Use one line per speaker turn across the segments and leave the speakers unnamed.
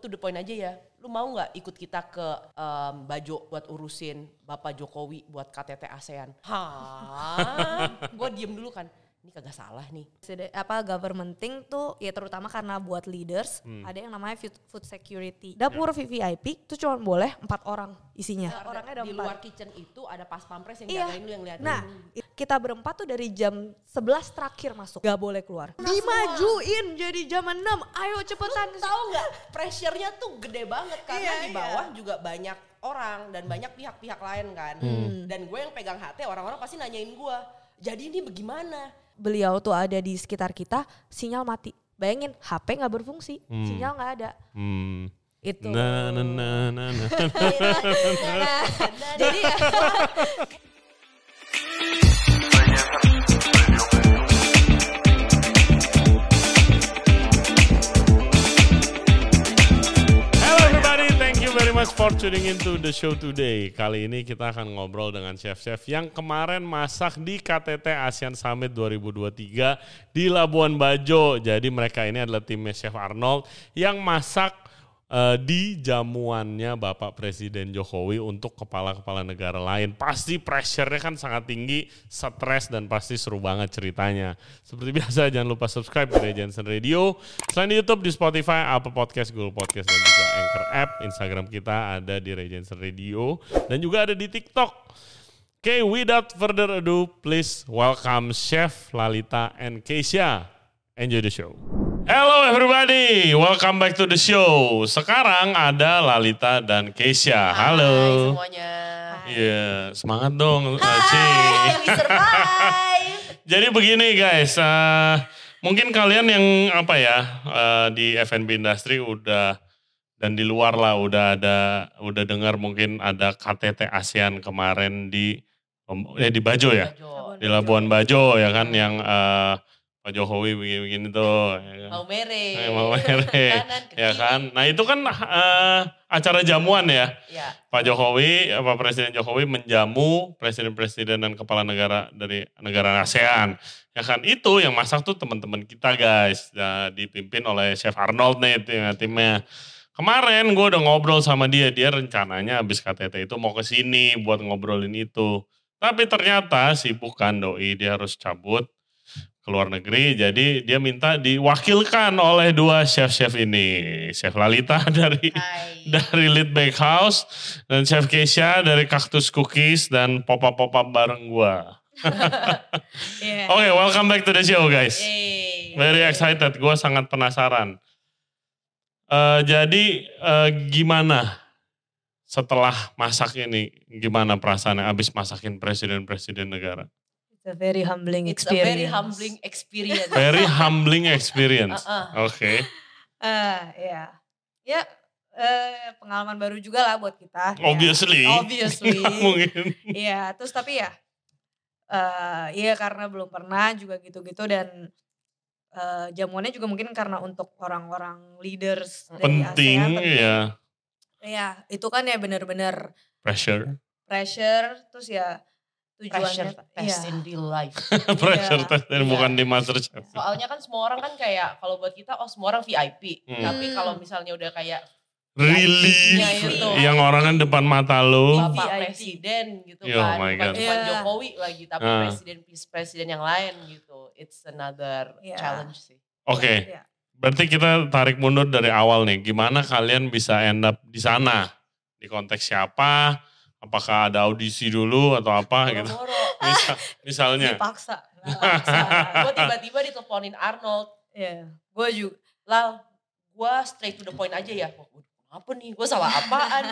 to the point aja ya. Lu mau nggak ikut kita ke em, Bajo buat urusin Bapak Jokowi buat KTT ASEAN? Hah? gue diem dulu kan. Ini kagak salah nih.
Sudah- apa governmenting tuh ya terutama karena buat leaders ada yang namanya food, food security dapur VVIP itu cuma boleh empat orang isinya Ya. Eh, orangnya ada
di
empat
luar kitchen itu ada pas pampres yang
Iya.
jagain lu yang liatin.
Nah, i- kita berempat tuh dari jam 11 terakhir masuk. Gak boleh keluar. Dimajuin jadi jam 6. Ayo cepetan.
tahu nggak pressure-nya tuh gede banget karena
Iya, Hmm.
di bawah juga banyak orang dan banyak pihak-pihak lain kan dan gue yang pegang hati orang-orang pasti nanyain gue jadi ini bagaimana
Beliau tuh ada di sekitar kita, sinyal mati. Bayangin, HP nggak berfungsi, sinyal nggak ada.
Hmm.
Itu.
Na na na na na.
Nah, jadi ya,
Hello everybody, thank you very much for tuning in to the show today. Kali ini kita akan ngobrol dengan chef-chef yang kemarin masak di KTT ASEAN Summit 2023 di Labuan Bajo. Jadi mereka ini adalah timnya Chef Arnold yang masak eh, di jamuannya Bapak Presiden Jokowi untuk kepala-kepala negara lain. Pasti pressure-nya kan sangat tinggi, stres dan pasti seru banget ceritanya. Seperti biasa jangan lupa subscribe di Jensen Radio. Selain di YouTube di Spotify, Apple Podcast, Google Podcast dan juga Anchor App. Instagram kita ada di Regensen Radio dan juga ada di TikTok. Oke, without further ado, please welcome Chef Lalita and Keisha. Enjoy the show. Hello everybody, welcome back to the show. Sekarang ada Lalita dan Keisha. Halo.
semuanya
Iya, semangat dong, Ci.
we survive.
Jadi begini guys, eh, mungkin kalian yang apa ya eh, di F&B industri udah dan di luar lah udah ada udah dengar mungkin ada KTT ASEAN kemarin di eh, di Bajo ya,
Bajo.
di Labuan Bajo ya
Iya.
kan yang eh, Pak Jokowi begini-begini tuh. ya kan.
mau mere
Eh, mau mere,
Kanan, ke
ya
kiri.
kan. Nah itu kan eh, acara jamuan ya.
ya
Pak Jokowi, eh, Pak Presiden Jokowi menjamu presiden-presiden dan kepala negara dari negara ASEAN. Ya kan itu yang masak tuh teman-teman kita guys, Nah, dipimpin oleh Chef Arnold nih tim- timnya. Kemarin gue udah ngobrol sama dia, dia rencananya habis KTT itu mau ke sini buat ngobrolin itu. Tapi ternyata sibuk kan doi, dia harus cabut ke luar negeri. Jadi dia minta diwakilkan oleh dua chef-chef ini. Chef Lalita dari
hai
dari Lead Back House dan Chef Keisha dari Cactus Cookies dan pop-up pop-up bareng gua.
Iya.
Oke, welcome back to the show guys.
Yeay.
Very excited, gua sangat penasaran. Eh, jadi eh, gimana setelah masak ini? Gimana perasaannya abis masakin presiden-presiden negara?
It's a very humbling
it's
experience.
a very humbling experience
Very humbling experience.
Uh-uh.
Oke.
Eh, ya. Ya, eh, pengalaman baru juga lah buat kita. Ya.
Obviously.
Obviously.
Nggak mungkin.
Iya, terus tapi ya, eh iya karena belum pernah juga gitu-gitu dan eh jamuannya juga mungkin karena untuk orang-orang leaders dari
Penting
ASEAN. penting.
ya
Iya, itu kan ya bener-bener
pressure.
pressure, terus ya
pressure
tujuannya.
test
Iya.
in real life
pressure
Iya.
test dan
Iya.
bukan di master chef.
soalnya kan semua orang kan kayak kalau buat kita oh semua orang VIP
Hmm.
tapi
Hmm.
kalau misalnya udah kayak
relief
Ya, itu. Iya.
yang orangnya depan mata lu.
Bapak
VIP.
Presiden gitu
Yo,
kan.
my
Bukan
God.
cuma
Yeah.
Jokowi lagi tapi
Ah.
presiden presiden yang lain gitu. It's another
Yeah.
challenge sih.
Oke,
Iya.
berarti kita tarik mundur dari awal nih. Gimana kalian bisa end up di sana? Di konteks siapa? Apakah ada audisi dulu atau apa gitu?
Moro-moro.
Misa- misalnya.
Dipaksa. dipaksa.
gue tiba-tiba diteleponin Arnold,
Iya, gue juga.
"Lal, gue straight to the point aja ya." Wah, waduh, apa nih? Gue salah apaan?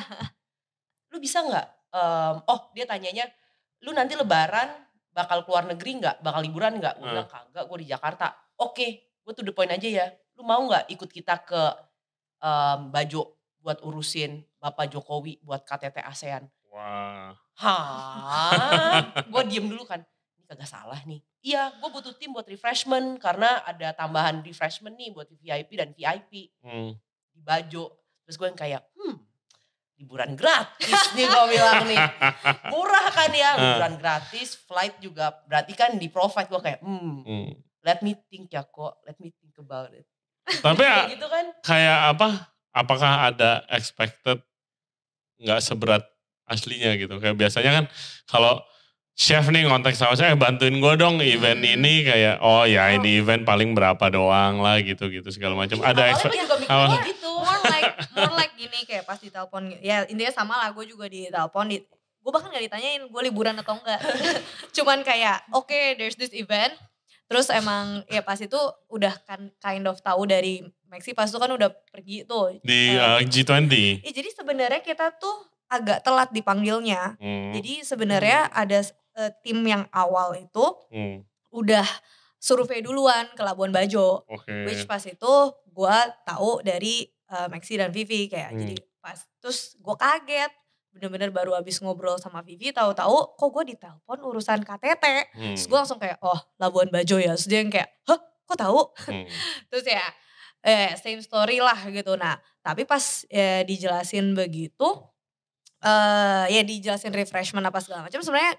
lu bisa nggak? Em, oh, dia tanyanya, "Lu nanti lebaran bakal keluar negeri nggak? Bakal liburan nggak?" Gue
Hmm.
bilang, "Kagak, gue di Jakarta." Oke, gue to the point aja ya. Lu mau nggak ikut kita ke em, Bajo buat urusin Bapak Jokowi buat KTT ASEAN?
Wah.
Hah? gue diem dulu kan. Ini kagak salah nih. Iya, gue butuh tim buat refreshment karena ada tambahan refreshment nih buat VIP dan VIP
Hmm.
di Bajo. Terus gue yang kayak, hmm, liburan gratis nih gue bilang nih. Murah kan ya, liburan gratis, flight juga. Berarti kan di provide gue kayak, hmm,
Hmm.
let me think ya kok, let me think about it.
Tapi
Kayak gitu kan,
kayak apa? apakah ada expected nggak seberat aslinya gitu kayak biasanya kan kalau chef nih kontak sama saya "Eh, bantuin gue dong event
Hmm.
ini kayak oh ya ini event paling berapa doang lah gitu gitu segala macam
Awalnya
ada
kan
expect
gue juga mikirnya
awalnya-
gitu.
more like more like gini kayak pas ditelepon gitu. ya intinya sama lah gue juga ditelepon di gue bahkan gak ditanyain gue liburan atau enggak cuman kayak oke there's this event terus emang ya pas itu udah kan kind of tahu dari Maxi pas itu kan udah pergi tuh
di
Eh,
uh, G20
eh, jadi sebenarnya kita tuh agak telat dipanggilnya
Hmm,
jadi sebenarnya ada eh, tim yang awal itu
hmm,
udah survei duluan ke Labuan Bajo
oke
Which pas itu gue tahu dari uh, Maxi dan Vivi kayak
Hmm.
jadi pas terus gue kaget bener-bener baru habis ngobrol sama Vivi tahu-tahu kok gue ditelepon urusan KTT
Hmm,
terus gue langsung kayak oh Labuan Bajo ya terus dia yang kayak hah kok tahu
hmm.
terus ya eh same story lah gitu nah tapi pas eh, dijelasin begitu eh ya dijelasin refreshment apa segala macam sebenarnya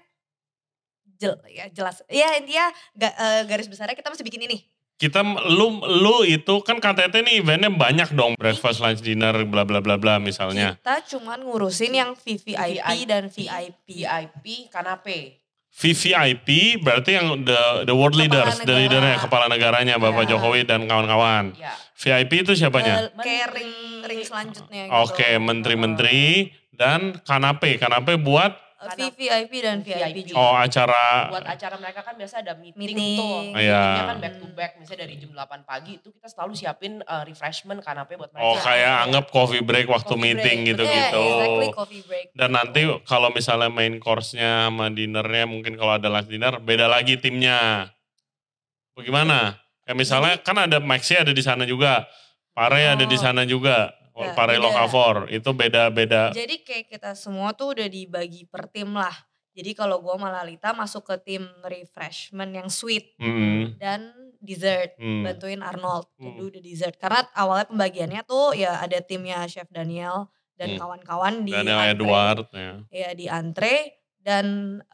jel- ya jelas ya intinya ga- eh, garis besarnya kita masih bikin ini
kita lu lu itu kan KTT nih eventnya banyak dong breakfast lunch dinner bla bla bla bla misalnya
Kita cuman ngurusin yang VVIP dan VIP.
VIP kanape.
VVIP berarti yang the the world
Kepala
leaders the
negara.
leadernya kepala negaranya Bapak
Ya.
Jokowi dan kawan-kawan
Ya.
VIP itu
Eh,
siapanya
kayak ring, ring selanjutnya gitu.
oke menteri-menteri dan kanape kanape buat
Eh, VVIP dan VIP,
VIP.
juga.
oh acara
Buat acara mereka kan biasa ada meeting,
Meeting.
tuh.
Iya.
Meetingnya kan back to back. Misalnya dari jam 8 pagi itu kita selalu siapin eh, refreshment kanape buat mereka.
oh kayak anggap coffee break waktu
Coffee
meeting
break,
Eh,
gitu-gitu
exactly coffee break.
gitu. dan nanti kalau misalnya main course-nya sama dinnernya mungkin kalau ada lunch dinner beda lagi timnya bagaimana kayak misalnya kan ada Maxi ada di sana juga Pare ada di
Oh.
sana juga
Ya,
Pare
beda.
Lokavor itu beda beda
Jadi kayak kita semua tuh udah dibagi per tim lah. Jadi kalau gue malah Lita masuk ke tim refreshment yang sweet
Hmm,
dan dessert.
hmm.
bantuin Arnold to
Hmm.
do the dessert karena awalnya pembagiannya tuh ya ada timnya chef Daniel dan
Hmm.
kawan-kawan di
Daniel
antre.
Edward ya.
ya di antre dan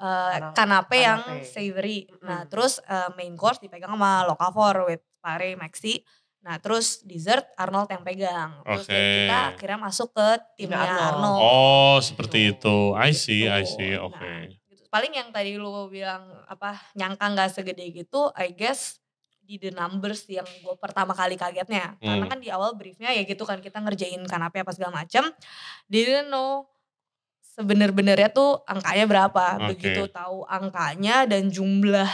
eh,
Kana-
kanape yang
kanape.
savory. Nah,
Mm-mm.
terus eh, main course dipegang sama Lokavor with Pare Maxi. Nah, terus dessert Arnold yang pegang. Terus
Oke.
kayak kita akhirnya masuk ke timnya
Timnya
Arnold.
Arnold.
Oh seperti itu, I see I
Gitu.
see,
Nah,
oke.
gitu. Paling yang tadi lu bilang apa nyangka nggak segede gitu, I guess di the numbers yang gue pertama kali kagetnya. Karena
Hmm.
kan di awal briefnya ya gitu kan kita ngerjain kanape apa segala macam. Didn't know sebener-benernya tuh angkanya berapa.
Oke.
Begitu tahu angkanya dan jumlah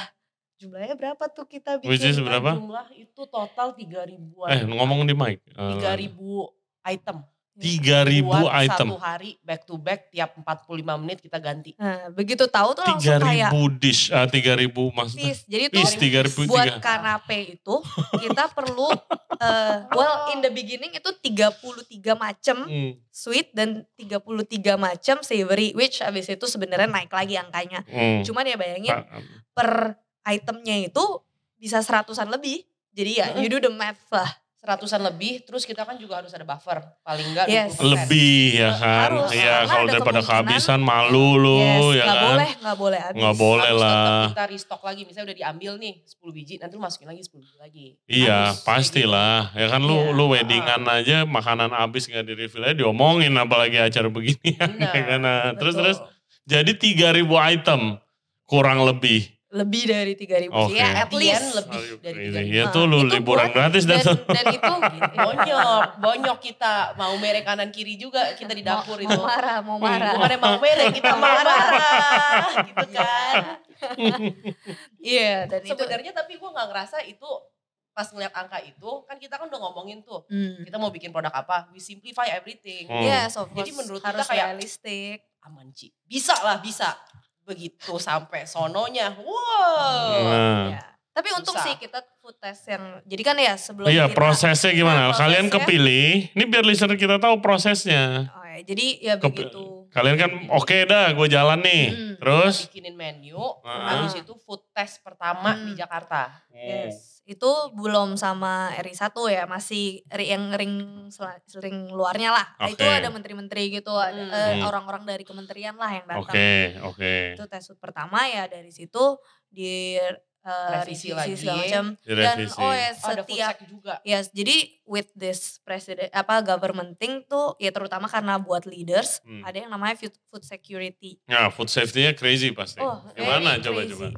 jumlahnya berapa tuh kita bikin.
Which is berapa?
Nah, Jumlah itu total 3 ribuan.
Eh ngomong di mic. Eh,
3 ribu item.
3.000
Buat
item,
satu hari back to back tiap 45 menit kita ganti.
Nah, begitu tahu tuh langsung
3.000
kayak
dish, ah, 3.000 maksudnya.
Peace. Jadi tuh
Peace, 3.000
buat
tiga.
kanape itu kita perlu eh, well in the beginning itu 33 macam
Hmm,
sweet dan 33 macam savory which abis itu sebenarnya naik lagi angkanya.
hmm.
Cuman ya bayangin
Pa-
per itemnya itu bisa seratusan lebih. Jadi ya
Hmm.
you do the math lah.
Seratusan lebih, terus kita kan juga harus ada buffer. Paling enggak
Yes.
20%.
lebih ya
Harus,
kan
karena
ya kalau
ada
daripada
kemungkinan-
kehabisan malu lu
yes,
ya
nggak
kan
boleh, nggak boleh habis.
nggak boleh
Harus tetap
lah
kita restock lagi. Misalnya udah diambil nih 10 biji, nanti lu masukin lagi 10 biji lagi.
iya
Harus kayak gitu.
pastilah ya kan lu
Iya.
lu weddingan aja makanan habis nggak di refill aja diomongin apalagi acara begini
gitu. Benar.
ya kan Nah, terus
Betul.
terus jadi 3000 item kurang lebih
Lebih dari 3000 sih.
Oke.
Ya, at
At least
least.
lebih dari
Crazy.
3000.
ya tuh lu
Itu
liburan
buat-
gratis
Dan,
dan
dan itu
Bonyok, bonyok kita mau merek kanan kiri juga kita di dapur
mau,
itu.
mau marah, mau marah.
Bukan yang mau merek kita marah gitu kan.
Iya, dan itu
Sebenarnya tapi gue nggak ngerasa itu pas ngeliat angka itu kan kita kan udah ngomongin tuh
Hmm.
kita mau bikin produk apa we simplify everything
Hmm.
Yes, of course.
Jadi menurut
harus
kita kayak-
realistik.
aman Ci bisa lah bisa begitu sampai sononya wow
nah.
Ya. Tapi untung
Susah.
sih kita food test yang jadi kan ya sebelum
Iya
kita
prosesnya gimana?
Nah,
Kalian
prosesnya-
kepilih, ini biar listener kita tahu prosesnya.
Oh, ya, jadi ya
Ke-
begitu.
Kalian kan oke dah gue jalan nih.
Mm.
Terus
Kita bikinin menu
Ah.
habis itu food test pertama
Hmm.
di Jakarta
Nah, Yes. Itu belum sama RI 1 ya, masih ri- yang ring sela- ring luarnya lah. Nah, Itu
Oke.
ada menteri-menteri gitu, ada,
Hmm.
eh,
Hmm.
orang-orang dari kementerian lah yang datang.
Oke, oke.
Itu tes food pertama ya dari situ di eh, eh,
Revisi lagi.
segala macam. Dan
Direvisi.
Oh,
oh ya
ada food
setiap
sack juga.
Yes, jadi with this president apa governmenting tuh ya terutama karena buat leaders
Hmm.
ada yang namanya food, food security.
Nah, food safety-nya crazy pasti.
Oh,
eh,
Gimana
very crazy.
coba-coba?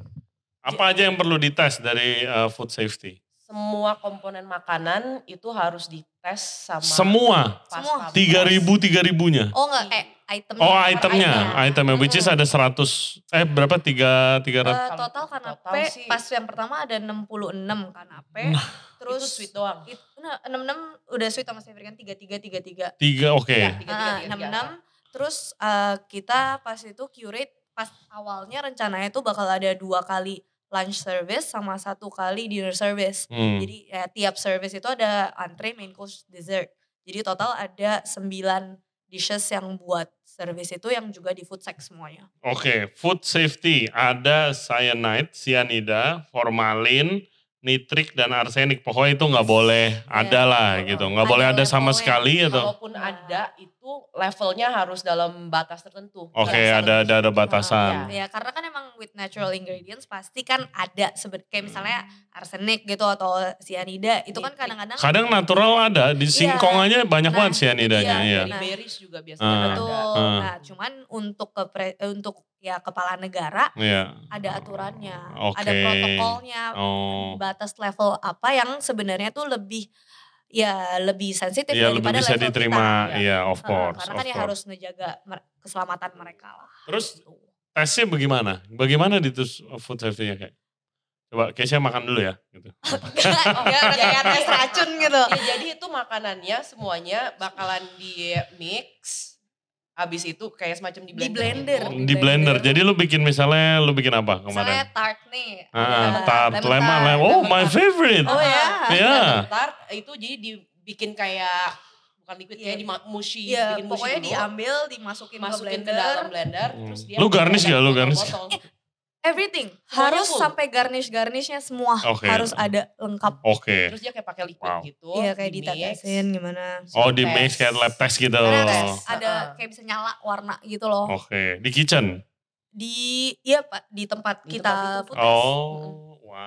Apa aja yang perlu dites dari uh, food safety?
Semua komponen makanan itu harus dites sama
Semua.
pas pampres.
Semua.
3000 3000-nya.
Oh enggak, eh itemnya.
Oh, itemnya,
Item.
itemnya which is ada 100 eh berapa? 3 300.
Hmm. Eh, total
Total
kanape
sih.
pas yang pertama ada 66 kanape.
Terus
Nah.
kan, Terus
itu sweet doang.
It, nah, 66 udah sweet sama savory kan 33 33.
3 oke.
Ya, tiga, tiga,
Nah,
tiga, tiga.
66 terus eh, kita pas itu curate pas awalnya rencananya tuh bakal ada dua kali lunch service sama satu kali dinner service.
Hmm.
Jadi ya, tiap service itu ada entree, main course, dessert. Jadi total ada 9 dishes yang buat service itu yang juga di food sec semuanya.
Oke, food safety ada cyanide, cyanida, formalin, nitrik dan arsenik. Pokoknya itu nggak boleh ada lah gitu.
Iya.
Nggak
Ada
boleh ada sama
levelnya.
sekali gitu.
Kalaupun
Nah.
ada itu levelnya harus dalam batas tertentu. Nggak
Oke,
bisa
ada
lebih.
ada ada batasan.
Ya karena kan emang with natural ingredients pasti kan ada sebe- kayak misalnya arsenik gitu atau cyanida itu kan
Nitrik.
kadang-kadang
Kadang natural ada, di singkong aja banyak
Iya. Nah,
banget
itu
cyanidanya.
dia.
Iya.
Dari
Nah.
berries juga
Ah.
biasanya ada.
betul.
Ah.
Nah, cuman untuk ke pre- eh, untuk ya kepala negara
Iya.
ada aturannya, ada
Oke.
protokolnya,
Oh.
batas level apa yang sebenarnya tuh lebih ya lebih sensitif
Iya lebih
daripada
bisa
level
diterima,
kita,
iya of
kita.
course.
karena
of
kan ya
course.
harus menjaga mer- keselamatan mereka lah.
Terus
Gitu.
tesnya bagaimana? Bagaimana di tes food safety-nya kayak? Coba Keisha makan dulu ya. Gitu.
ya udah kayak tes racun gitu.
Nah, Ya, jadi itu makanannya semuanya bakalan di mix. Habis itu kayak semacam di
Di
blender.
blender.
Di blender. Jadi lu bikin misalnya lu bikin apa
Misalnya
kemarin?
tart nih.
Iya,
Ah,
ada
tart, lemon, lemon. Oh, my favorite.
Iya. Oh ya.
Iya.
Bentar, itu jadi dibikin kayak bukan liquid
Iya.
kayak di mushy,
Iya,
bikin mushy
pokoknya
dulu,
diambil, dimasukin,
masukin
ke
ke dalam
blender.
blender terus dia
Hmm. Lu garnish
pakai
nggak? Lu
botol-
garnish?
botol.
Everything.
Semuanya
Harus
full.
sampai garnish-garnishnya semua
Oke.
harus ada lengkap.
Oke.
Terus dia kayak pakai liquid
Wow.
gitu.
Iya kayak
di-mix.
ditetesin gimana.
Oh, di mix kayak lab test gitu.
Karena
Oke,
ada, ada kayak bisa nyala warna gitu loh.
Oh. di kitchen.
di iya pak di tempat
Di
kita
tempat itu.
food test
Oh, wow.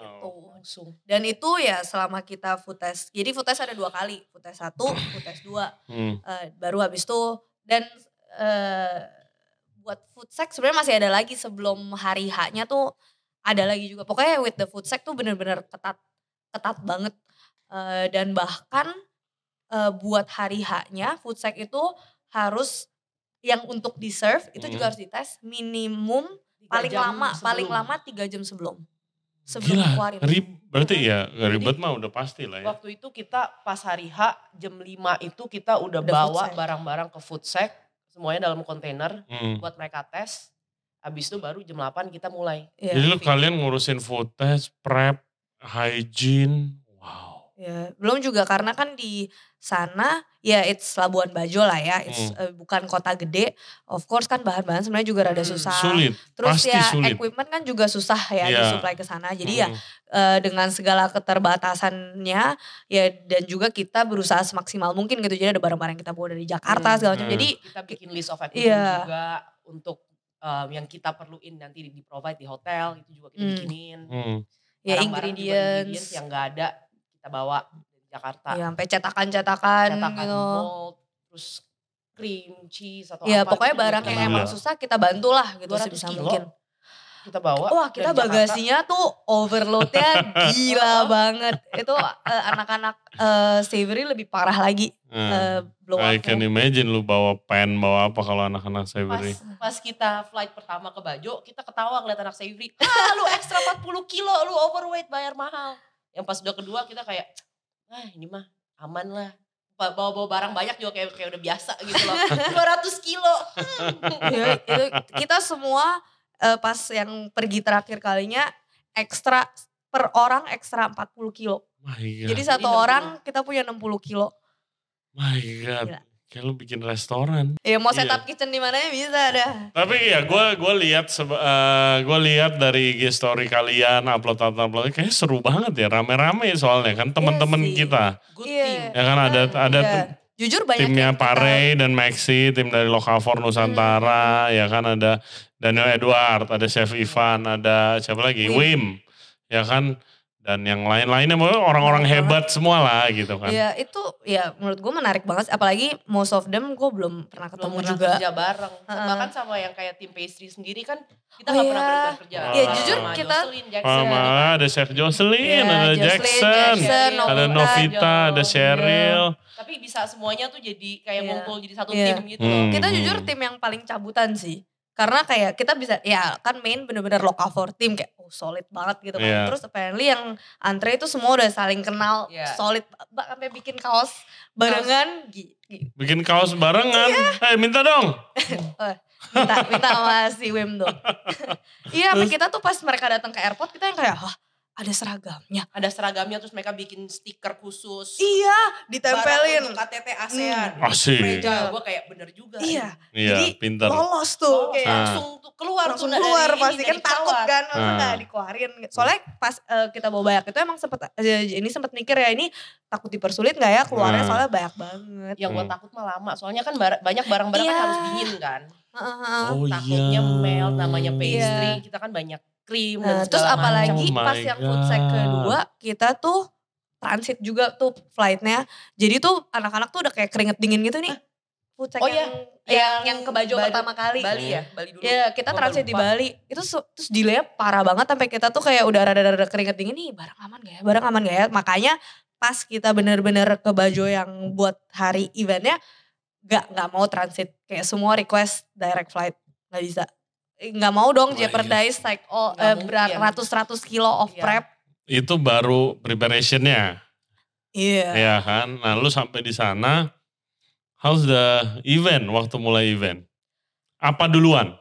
Gitu.
Langsung.
dan itu ya selama kita food test jadi food test ada dua kali food test satu food test dua
Hmm.
Eh, baru habis itu dan eh, buat food sec sebenarnya masih ada lagi sebelum hari H-nya tuh ada lagi juga pokoknya with the food sec tuh bener-bener ketat ketat banget Eh, dan bahkan eh, buat hari H-nya food sec itu harus yang untuk di serve itu juga
Mm.
harus dites minimum
Tiga
paling
jam
lama
sebelum.
paling lama tiga jam sebelum sebelum
Gila,
dikeluarin
rib, berarti ya ribet mah udah pasti lah ya.
Waktu itu kita pas hari H jam 5 itu kita udah,
Udah
bawa
food sack.
barang-barang ke food sack semuanya dalam kontainer
Hmm.
buat mereka tes. Habis itu baru jam 8 kita mulai.
Iya,
Jadi lu
fix.
kalian ngurusin food test, prep, hygiene. Wow.
Ya, belum juga karena kan di sana ya it's Labuan Bajo lah ya, it's
Hmm.
eh, bukan kota gede. Of course kan bahan-bahan sebenarnya juga rada
Hmm,
susah.
Sulit.
Terus
pasti
ya
sulit.
equipment kan juga susah ya
Iya.
disuplai ke sana. Jadi ya
Hmm.
eh, dengan segala keterbatasannya ya dan juga kita berusaha semaksimal mungkin gitu. Jadi ada barang-barang yang kita bawa dari Jakarta
Hmm.
segala macam.
Hmm.
Jadi ya
Kita bikin list of activity
Iya.
juga untuk um, yang kita perluin nanti di provide di hotel itu juga kita
Hmm.
bikinin.
Hmm.
ya
Barang-barang juga ya,
ingredients,
yang nggak ada kita bawa dari Jakarta.
ya sampai cetakan-cetakan
Cetakan
gitu.
mold, terus cream cheese atau
Ya
apa.
pokoknya
gitu
barang
kita
yang
bawa.
Gila.
emang susah kita bantulah gitu
200
sebisa
kilo.
mungkin.
Kita bawa.
Wah kita
dari Jakarta.
bagasinya tuh overloadnya gila banget. Itu eh, anak-anak eh, savory lebih parah lagi
Hmm.
eh, blow
I can
up-nya.
imagine lu bawa pen, bawa apa kalau anak-anak saya
pas
beri.
pas kita flight pertama ke Bajo kita ketawa ngeliat anak Savory ah lu ekstra 40 kilo lu overweight bayar mahal yang pas udah kedua kita kayak ah ini mah aman lah Ba- bawa-bawa barang banyak juga kayak kayak udah biasa gitu loh 200 kilo
Ya, itu kita semua eh, pas yang pergi terakhir kalinya ekstra per orang ekstra 40 kilo.
My God.
Jadi satu
Jadi 60.
orang kita punya 60 kilo.
My God.
Gila.
Kayak lu bikin restoran.
Ya mau
Iya.
setup kitchen di mana ya bisa dah.
Tapi
Iya.
ya gue gue lihat seba- eh, gua lihat dari IG story kalian upload upload upload kayak seru banget ya rame-rame soalnya kan teman-teman
Iya sih.
kita
good
Iya.
thing
ya kan ada ada
Iya.
tim-
Jujur banyak
timnya
yang kita-
Pare dan Maxi tim dari Lokavor Nusantara ya kan ada Daniel Edward ada Chef Ivan ada siapa lagi
Wim.
Wim ya kan dan yang lain-lainnya pokoknya orang-orang hebat semua lah gitu kan
Ya itu ya menurut gue menarik banget apalagi most of them gue belum pernah
Belum
ketemu
pernah
juga.
kerja bareng.
Heeh.
Bahkan sama yang kayak tim pastry sendiri kan kita
Oh
nggak pernah
iya.
bertukar kerja.
Iya,
Sama
jujur
kita-
Jocelyn Jackson.
Mama, ada Chef Jocelyn,
Ya,
ada
Jocelyn,
Jackson,
Jackson,
ada Novita, ada
Jo.
Cheryl.
Tapi bisa semuanya tuh jadi kayak
Iya.
ngumpul jadi satu
Iya.
tim gitu. loh.
Hmm.
Kita jujur tim yang paling cabutan sih. Karena kayak kita bisa ya kan main bener-bener lokal for tim kayak oh solid banget gitu kan.
Iya.
Terus apparently yang antre itu semua udah saling kenal
Iya.
solid ba- sampai bikin kaos barengan gi- gi-
Bikin kaos barengan. Eh, minta dong.
minta minta sama si Wim dong. Iya, sampai kita tuh pas mereka datang ke airport kita yang kayak hah ada seragamnya.
Ada seragamnya terus mereka bikin stiker khusus.
Iya,
Barang
kan.
untuk KTT ASEAN.
Hmm.
Asik.
Freja, gue kayak bener juga.
Iya,
Iya,
Jadi,
pinter.
lolos tuh
Tuh,
kayak
Ah.
langsung tuh keluar
langsung
tuh dari
keluar
ini,
pasti kan
dari
takut
pesawat.
kan masa
Ah.
nggak dikeluarin soalnya pas eh, kita bawa banyak itu emang sempet eh, ini sempet mikir ya ini takut dipersulit nggak ya keluarnya
Ah.
soalnya banyak banget
Yang gue
Hmm.
takut mah lama, soalnya kan bar- banyak barang-barang kan
Iya.
harus dingin kan.
Heeh.
Oh
Takutnya melt, namanya pastry,
Iya.
kita kan banyak krim dan
Nah,
segala
terus apalagi
macam. Oh
pas
my
yang food sack
God.
kedua kita tuh transit juga tuh flightnya jadi tuh anak-anak tuh udah kayak keringet dingin gitu nih food sack
Oh
yang, iya, yang yang ke Bajo pertama kali
Bali ya, Bali dulu.
Iya kita
Gua
transit
baru
di
lupa.
Bali itu su- terus delay parah banget sampai kita tuh kayak udah rada-rada keringet dingin nih barang aman gak ya barang aman gak ya makanya pas kita bener-bener ke Bajo yang buat hari eventnya gak nggak mau transit kayak semua request direct flight nggak bisa Eh, nggak mau dong
Wah, iya.
jeopardize like all
Nggak
eh, berat
mungkin.
ratus-ratus kilo of
Iya.
prep
Itu baru preparationnya,
iya
ya kan? Nah, lu sampai di sana, how's the event? Waktu mulai event, apa duluan?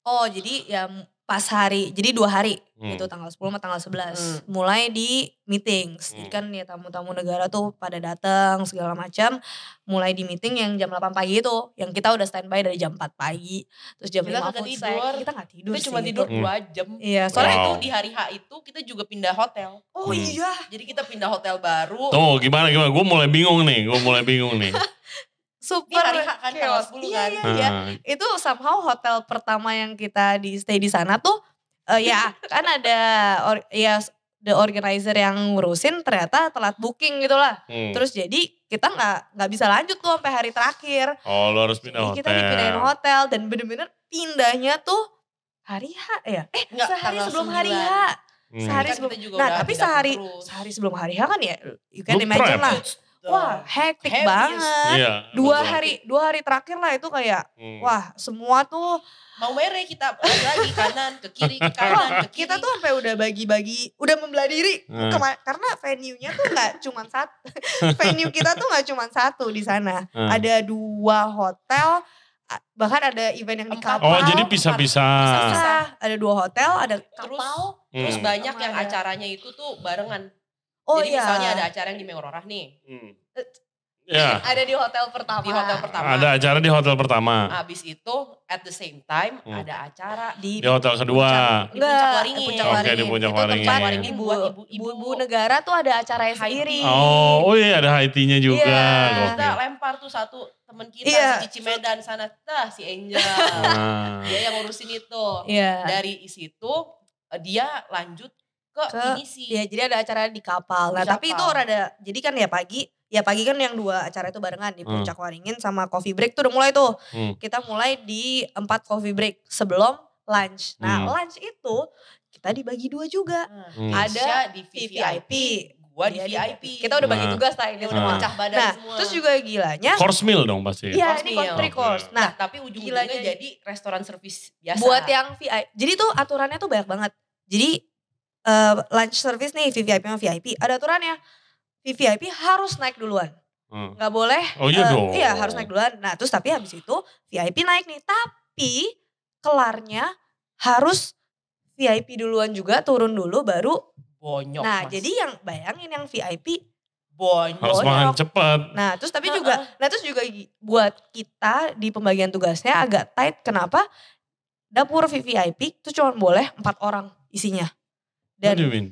oh jadi ya pas hari jadi dua hari
Hmm.
itu gitu, tanggal 10 sama tanggal 11
Hmm.
mulai di meetings jadi
Hmm.
kan ya tamu-tamu negara tuh pada datang segala macam mulai di meeting yang jam 8 pagi itu yang kita udah standby dari jam 4 pagi terus jam
Kita
5
kagak
food
tidur.
sack. kita nggak tidur
Kita
sih gitu.
cuma tidur
Hmm.
2 jam.
iya
Soalnya
soalnya
Wow.
itu di hari H itu kita juga pindah hotel.
oh
Hmm.
iya
Jadi kita pindah hotel baru.
Tuh, gimana gimana? Gue mulai bingung nih, gue mulai bingung nih.
Di
super
hari H kan, tanggal
chaos.
10
iya
kan.
iya iya
Nah,
itu somehow hotel pertama yang kita di stay di sana tuh eh, ya kan ada or- ya the organizer yang ngurusin ternyata telat booking gitu lah
hmm.
terus jadi kita nggak nggak bisa lanjut tuh sampai hari terakhir
Oh, lu harus
Jadi
pindah hotel.
kita dipindahin hotel dan bener-bener pindahnya tuh hari H ya eh
Nggak,
sehari
tanggal
sebelum hari H
9.
Hmm.
sehari
Kan
sebelum-
kita juga
nah,
udah
tapi
pindah
sehari-
terus.
sehari sebelum hari H kan ya you can
Lu
imagine
prep.
lah wah
Wah,
hektik
Habis.
banget
Iya,
dua
betul.
hari dua hari terakhir lah itu kayak
Hmm.
wah semua tuh
mau mere kita balik lagi kanan ke kiri ke
wah,
kanan ke kiri.
kita tuh sampai udah bagi-bagi udah membelah diri
Hmm.
Kema- karena venue-nya tuh nggak cuman satu venue kita tuh nggak cuman satu di sana
Hmm.
ada dua hotel a- bahkan ada event yang di
Empat.
kapal
Oh, jadi
Empat.
pisah-pisah.
Pisah. ada dua hotel ada
terus
kapal
terus
Hmm.
banyak yang
Sama ada.
acaranya itu tuh barengan.
oh
Jadi
iya
misalnya ada acara yang di Mengororah nih,
Hmm.
Eh,
Ya,
ada di hotel pertama Ah,
di hotel pertama.
ada acara di hotel pertama,
Abis itu at the same time
Hmm.
ada acara
di
di hotel kedua.
di Puncak Waringin.
Oke, di
Waringin.
Puncak
Itu tempat
Waringin.
ibu,
Buat
ibu,
ibu-ibu.
ibu negara tuh ada acaranya
High
sendiri
tea.
Oh, oh iya ada Haitinya juga.
Iya.
kita
Gokil.
lempar tuh satu temen kita
Iya.
si Cici Medan sana, tah si Angel.
Nah,
dia yang ngurusin itu.
iya
Dari situ eh, dia lanjut ke,
Ke-
ini sih.
Iya, jadi ada acara di kapal nah
Di
tapi itu
kapal.
rada jadi kan ya pagi ya pagi kan yang dua acara itu barengan di
Hmm.
puncak waringin sama coffee break tuh udah mulai tuh
Hmm.
kita mulai di empat coffee break sebelum lunch nah
Hmm.
lunch itu kita dibagi dua juga
Nah,
Hmm.
Ada
Tasya di
VVIP.
VVIP, gua di
Dia
VIP.
Iya, Kita udah bagi
Nah.
tugas lah ini
Dia udah
semua.
pecah badan
Nah,
semua.
terus juga gilanya.
Course meal dong pasti.
Iya,
Course
ini
meal.
country course.
Nah,
Nah,
tapi ujung-ujungnya
gilanya-
jadi restoran service biasa.
buat ya. yang VIP, jadi tuh aturannya tuh banyak banget. Jadi eh, lunch service nih VVIP sama VIP, ada aturannya. VVIP harus naik duluan.
Hmm.
nggak boleh.
Oh
eh,
iya dong.
Iya, harus naik duluan. Nah, terus tapi habis itu VIP naik nih, tapi kelarnya harus VIP duluan juga turun dulu baru.
bonyok.
nah,
Mas.
jadi yang bayangin yang VIP
bonyok.
Harus
Bonyok.
makan cepat.
Nah, terus tapi
Heeh.
juga, nah terus juga gi- buat kita di pembagian tugasnya agak tight. Kenapa? Dapur VVIP itu cuma boleh empat orang isinya. Dan
What do you mean?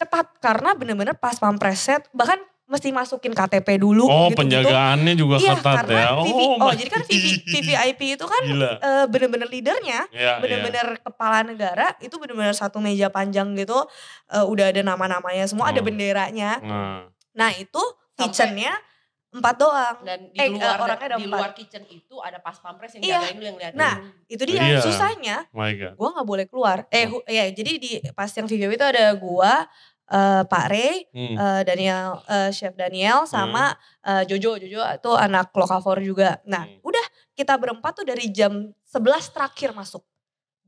ketat karena bener-bener pas pampreset, bahkan mesti masukin KTP dulu
Oh
gitu-gitu.
penjagaannya juga
Iya,
ketat
karena
ya.
VV
Oh,
oh
my-
jadi kan VV, VVIP itu kan
Gila.
eh, bener-bener leadernya
Iya, iya.
bener-bener kepala negara itu bener-bener satu meja panjang gitu eh, udah ada nama-namanya semua ada
Hmm.
benderanya
Nah,
nah itu
Sampai-
kitchennya empat doang
Dan di
Eh,
luar
orangnya ada
di
empat.
luar kitchen itu ada pas pampres yang
Iya.
jagain lu yang liatin.
Nah, itu dia
Iya. Oh.
susahnya
my god.
gue nggak boleh keluar eh hu- ya jadi di pas yang video itu ada gua eh, Pak Rey
Hmm.
eh, Daniel eh, Chef Daniel sama eh, Jojo Jojo itu anak Lokavor juga nah
Hmm.
udah kita berempat tuh dari jam 11 terakhir masuk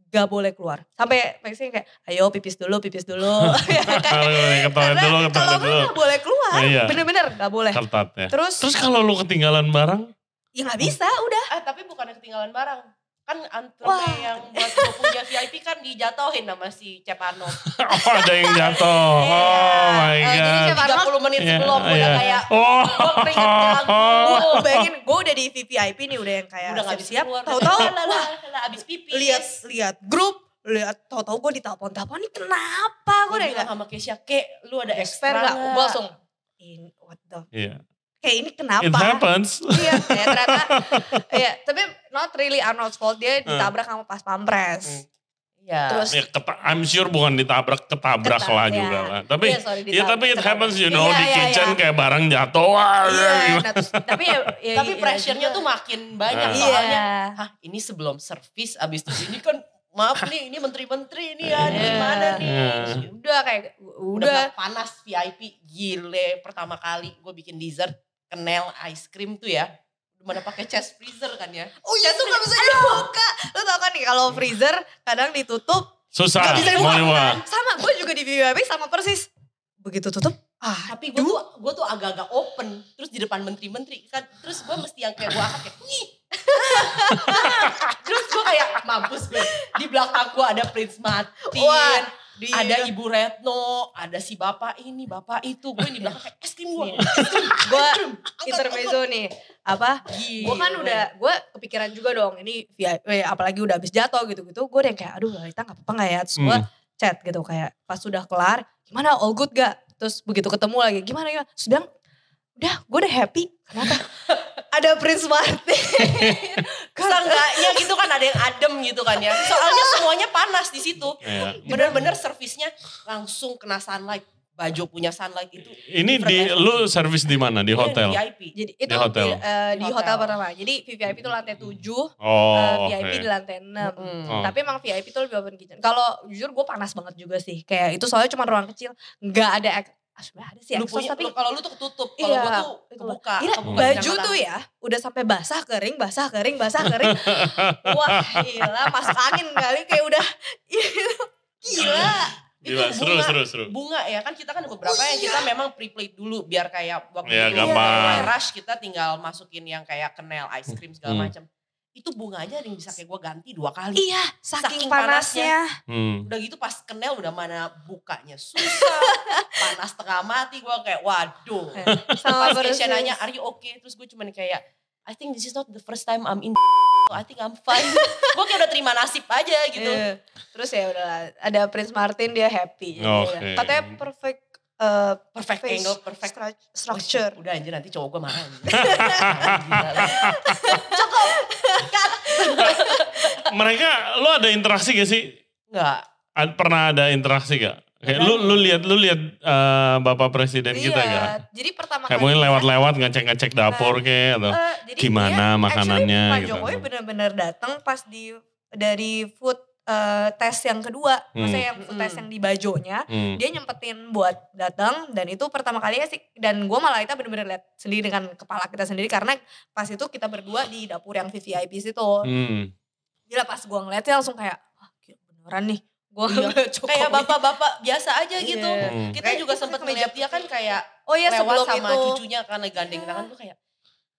gak boleh keluar sampai Maxine kayak ayo pipis dulu pipis dulu
Kalau boleh ke toilet dulu, ke
kalau
toilet
nggak
dulu.
nggak boleh keluar
Iya.
bener-bener nggak boleh
Ketat ya.
terus,
Terus Hmm. kalau lu ketinggalan barang,
ya nggak bisa udah
Eh tapi bukan ketinggalan barang. Kan
Wah.
antrenya yang buat gue punya VIP kan dijatohin sama si Cepano.
oh ada yang jatuh. Oh
Iya.
my
Eh, jadi
god.
siapa- Cepano-
30 menit
Iya,
sebelum
iya.
udah kayak
Oh.
gue keringet jalan.
gue bayangin gue udah di VVIP nih udah yang kayak
udah nggak bisa
siap-siap
keluar. Eh,
tahu-tahu
Lah, lah,
wah
lah, lah, abis pipis.
lihat lihat grup lihat tahu-tahu gue ditelepon telepon ini kenapa
Aku
gue udah
bilang
nggak
sama Keisha, Kek lu ada expert
expert nggak
nggak?
gue langsung in what the
Iya.
kayak ini
It
kenapa
happens.
iya ya, ternyata iya tapi not really Arnold's fault dia ditabrak sama pas
Hmm.
pampres
Iya.
terus
Ya, keta- I'm sure bukan ditabrak, ketabrak
Ketabrak,
lah
ya.
juga lah. Tapi
Iya, sorry,
Ya
ditabrak,
tapi it
ketabrak.
happens you know
Iya,
di
iya,
kitchen
iya.
kayak barang jatuh. wah,
Iya,
gitu.
nah, terus- tapi ya, ya
Tapi
iya
pressure-nya
juga.
tuh makin banyak
Nah.
soalnya.
Iya.
Hah, ini sebelum servis abis itu ini kan maaf nih ini menteri-menteri nih ya ini
Iya.
gimana nih
Iya.
udah kayak
udah
udah
bilang panas VIP gile pertama kali gue bikin dessert kenel ice cream tuh ya mana pakai chest freezer kan ya
oh ya tuh gak bisa dibuka lo tau kan nih kalau freezer kadang ditutup
Susah.
Gak bisa
mau
dibuka.
dibuka.
sama gue juga di VIP sama persis begitu tutup ah
tapi gue tuh gue tuh agak-agak open terus di depan menteri-menteri kan terus gue mesti yang kayak gue angkat kayak "Nyih." terus gue kayak mampus gue di belakang gue ada Prince Martin
Wah, di-
ada Ibu Retno ada si bapak ini bapak itu gue di belakang kayak es krim gue
Iya. gue intermezzo nih apa
Gile.
gue kan udah gue kepikiran juga dong ini VIP eh, apalagi udah habis jatuh gitu gitu gue yang kayak aduh Lalita nggak apa-apa nggak ya terus gue
Hmm.
chat gitu kayak pas sudah kelar gimana all good gak terus begitu ketemu lagi gimana gimana terus bilang udah gue udah happy kenapa ada Prince Martin
Seenggaknya gitu kan ada yang adem gitu kan ya. Soalnya semuanya panas di situ.
Iya.
Bener-bener servisnya langsung kena sunlight. Baju punya sunlight itu.
Ini di lu servis di mana? Di
Iya,
Ini
hotel.
VIP.
jadi itu
Di hotel.
eh, di
Hotel.
hotel pertama jadi VIP itu lantai 7
Oh,
eh,
oke.
VIP di lantai 6
Mm.
Oh.
Tapi emang VIP tuh lebih open kitchen. Kalau jujur gue panas banget juga sih. Kayak itu soalnya cuma ruang kecil. Nggak ada, ex- ah, sebenarnya ada sih
Lu
exhaust
punya,
tapi
lu- kalau lu tuh ketutup. Kalau
Iya,
gua tuh
itu.
kebuka.
Iya,
kebuka
baju
jangan
tuh ya udah sampai basah kering, basah kering, basah kering. Wah gila masuk angin kali kayak udah gila.
Gila,
itu
seru,
bunga.
seru, seru.
Bunga ya kan kita kan ada beberapa yang kita
Iya.
memang pre-plate dulu biar kayak waktu
Iya,
itu
gampang.
mulai rush kita tinggal masukin yang kayak kenel ice cream segala
Hmm.
macam. Itu bunga aja ada yang bisa kayak gue ganti dua kali.
Iya
Saking
saking, panasnya.
Hmm.
udah gitu pas kenel udah mana bukanya susah panas tengah mati gue kayak waduh
Iya. Sama
pas Keisha
persis.
nanya are you okay terus gue cuman kayak I think this is not the first time I'm in so I think I'm fine gue kayak udah terima nasib aja gitu
Iya. Terus ya udah ada Prince Martin dia happy.
Oke.
Iya. Katanya perfect eh,
perfect
face
angle perfect
stru- structure.
udah anjir nanti cowok gue marah anjir. Gila lah.
Mereka, lu ada interaksi gak sih?
nggak
Ad- Pernah ada interaksi gak? Kayak lu lu lihat lu lihat eh, Bapak Presiden kita
Iya.
gak?
Jadi pertama
Kayak
kali
mungkin lewat-lewat ngecek-ngecek dapur kayak atau
Eh, jadi
gimana
dia,
makanannya
actually, Pak
gitu.
Jokowi benar-benar datang pas di dari food eh, test yang kedua, maksudnya yang food
Hmm.
test yang di bajonya,
Hmm.
dia nyempetin buat datang dan itu pertama kalinya sih dan gue malah kita benar-benar lihat sendiri dengan kepala kita sendiri karena pas itu kita berdua di dapur yang VVIP situ.
Hmm.
Gila pas gue ngeliatnya langsung kayak wah gila beneran nih. Gue
Iya. kayak bapak-bapak biasa aja gitu
Iya.
Hmm.
kita
Kayak
juga
dia
sempet
pakai meja
ngeliat dia kan kayak
Oh iya
lewat
sebelum
sama
itu.
cucunya karena gandeng
Iya.
tangan gue kayak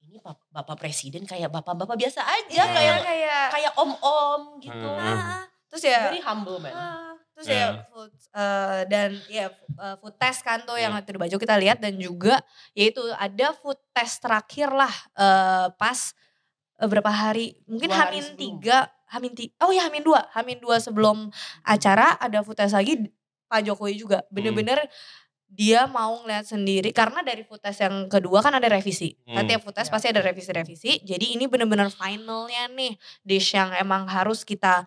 ini bap- bapak presiden kayak bapak-bapak biasa aja
Iya.
kayak
kayak
kayak om-om gitu.
Hmm.
ah, terus ya
Very humble man.
Ah, terus
Ya.
ya food eh, dan ya eh, food test kan tuh yang
Hmm.
waktu di baju kita lihat dan juga yaitu ada food test terakhir lah eh, pas eh, berapa hari mungkin
Dua hari
hamin
sebelum.
tiga hamin tiga oh ya hamin dua hamin dua sebelum acara ada food test lagi Pak Jokowi juga bener-bener dia mau ngeliat sendiri karena dari food test yang kedua kan ada revisi.
Hmm.
Nanti tiap food test
Ya.
pasti ada revisi-revisi. Jadi ini bener-bener finalnya nih dish yang emang harus kita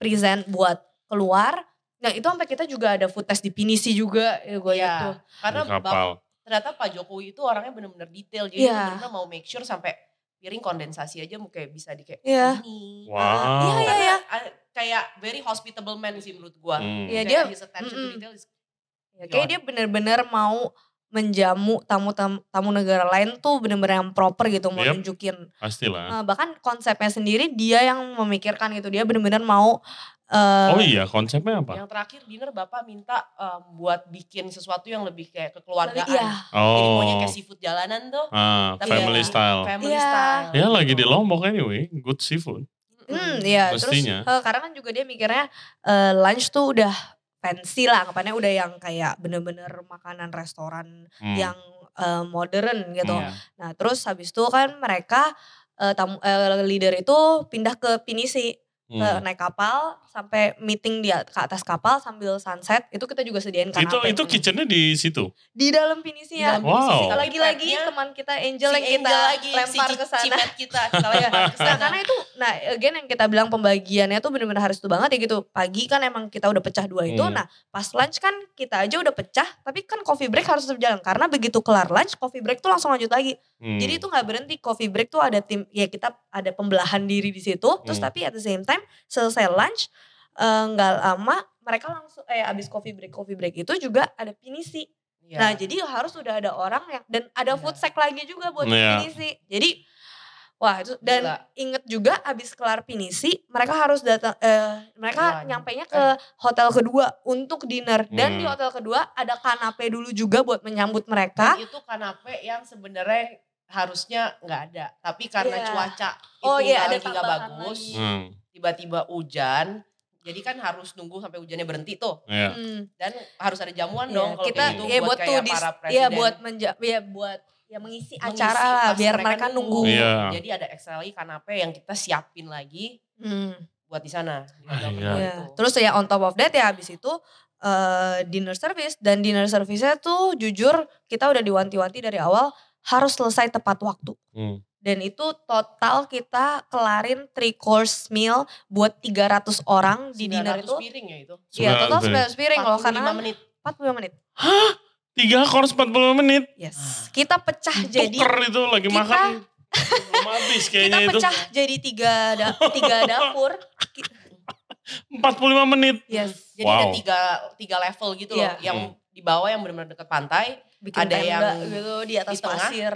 present buat keluar. Nah itu sampai kita juga ada food test di pinisi juga ya gue
Iya.
itu.
Karena
Di
bang-
kapal.
ternyata Pak Jokowi itu orangnya benar-benar detail. Jadi
Iya.
benar mau make sure sampai piring kondensasi aja mau kayak bisa di kayak
Iya.
ini.
Wow.
Iya, iya.
Karena, ah, kayak very hospitable man sih menurut gua.
Hmm.
Iya,
Kayak
dia-
his attention to
mm-mm.
detail is-
Ya, kayak dia bener-bener mau menjamu tamu tam- tamu negara lain tuh bener-bener yang proper gitu mau
Yep.
nunjukin.
Pastilah.
Nah, bahkan konsepnya sendiri dia yang memikirkan gitu. Dia bener-bener mau eh,
Oh iya, konsepnya apa?
Yang terakhir dinner Bapak minta em, buat bikin sesuatu yang lebih kayak kekeluargaan.
Iya.
Jadi maunya
Oh.
kayak seafood jalanan tuh.
Ah,
Tapi ya,
family style.
Family
Iya.
style.
Ya
gitu.
lagi di Lombok anyway, good seafood.
Hmm, iya.
Mestinya.
Terus eh, karena kan juga dia mikirnya eh, lunch tuh udah fancy lah, anggapannya udah yang kayak bener-bener makanan restoran
Hmm.
yang eh, modern gitu.
Hmm.
Nah, terus habis itu kan mereka eh, tamu eh, leader itu pindah ke Pinisi, ke
Hmm.
naik kapal sampai meeting di at- ke atas kapal sambil sunset. Itu kita juga sediain
Itu
kanape.
itu kitchennya di situ.
di dalam Pinisi ya.
Di dalam
Wow.
Pinisi.
Lagi-lagi
Karena
teman kita Angel yang kita lempar
si
ke sana.
Cimet kita, kita lempar ke
Nah,
sana.
karena itu, nah again yang kita bilang pembagiannya tuh bener-bener harus itu banget ya gitu. Pagi kan emang kita udah pecah dua itu,
Hmm.
nah pas lunch kan kita aja udah pecah, tapi kan coffee break harus tetap jalan. Karena begitu kelar lunch, coffee break tuh langsung lanjut lagi.
Hmm.
Jadi itu nggak berhenti, coffee break tuh ada tim, ya kita ada pembelahan diri di situ. Terus
Hmm.
tapi at the same time, selesai lunch, eh, nggak lama mereka langsung, eh abis coffee break, coffee break itu juga ada pinisi.
Iya.
Ya.
Nah jadi harus udah ada orang yang, dan
Iya.
ada food sack lagi juga buat
Iya.
pinisi. Jadi Wah itu dan
Gila.
inget juga abis kelar pinisi mereka harus datang eh, mereka
Pulang.
nyampe ke hotel kedua untuk dinner dan
Hmm.
di hotel kedua ada kanape dulu juga buat menyambut mereka.
itu kanape yang sebenarnya harusnya nggak ada tapi karena
Iya.
cuaca itu
Oh, iya, ada
lagi nggak
tambahan
bagus
lagi.
Hmm,
tiba-tiba hujan jadi kan harus nunggu sampai hujannya berhenti tuh
ya.
Hmm.
dan harus ada jamuan
Iya,
dong kalau
kita
kayak gitu
ya buat tuh
kayak
dis-
para
ya
presiden
buat menja ya buat ya mengisi
mengisi
acara lah
pas
biar mereka nunggu.
Iya.
jadi ada ekstra lagi kanape yang kita siapin lagi
Hmm.
buat di sana di gitu.
Ah,
hotel
iya.
kedua
Iya.
itu.
Terus ya on top of that ya habis itu eh, dinner service dan dinner service-nya tuh jujur kita udah diwanti-wanti dari awal harus selesai tepat waktu.
Hmm.
Dan itu total kita kelarin three course meal buat 300 orang di dinner
900
itu.
piring ya itu
Iya total
900
900 piring loh karena
45 menit
45 menit.
Tiga course 40 menit.
Ah.
Yes. Kita pecah jadi
Tuker itu lagi
kita-
makan. Belum habis
kita
kayaknya itu.
pecah jadi tiga da- tiga dapur.
45 menit.
Yes.
jadi ada
Wow. Hmm.
tiga tiga level gitu
Iya.
loh yang di bawah yang benar-benar dekat pantai
Bikin
Ada
tenda
yang
gitu di
di
atas
tengah.
pasir.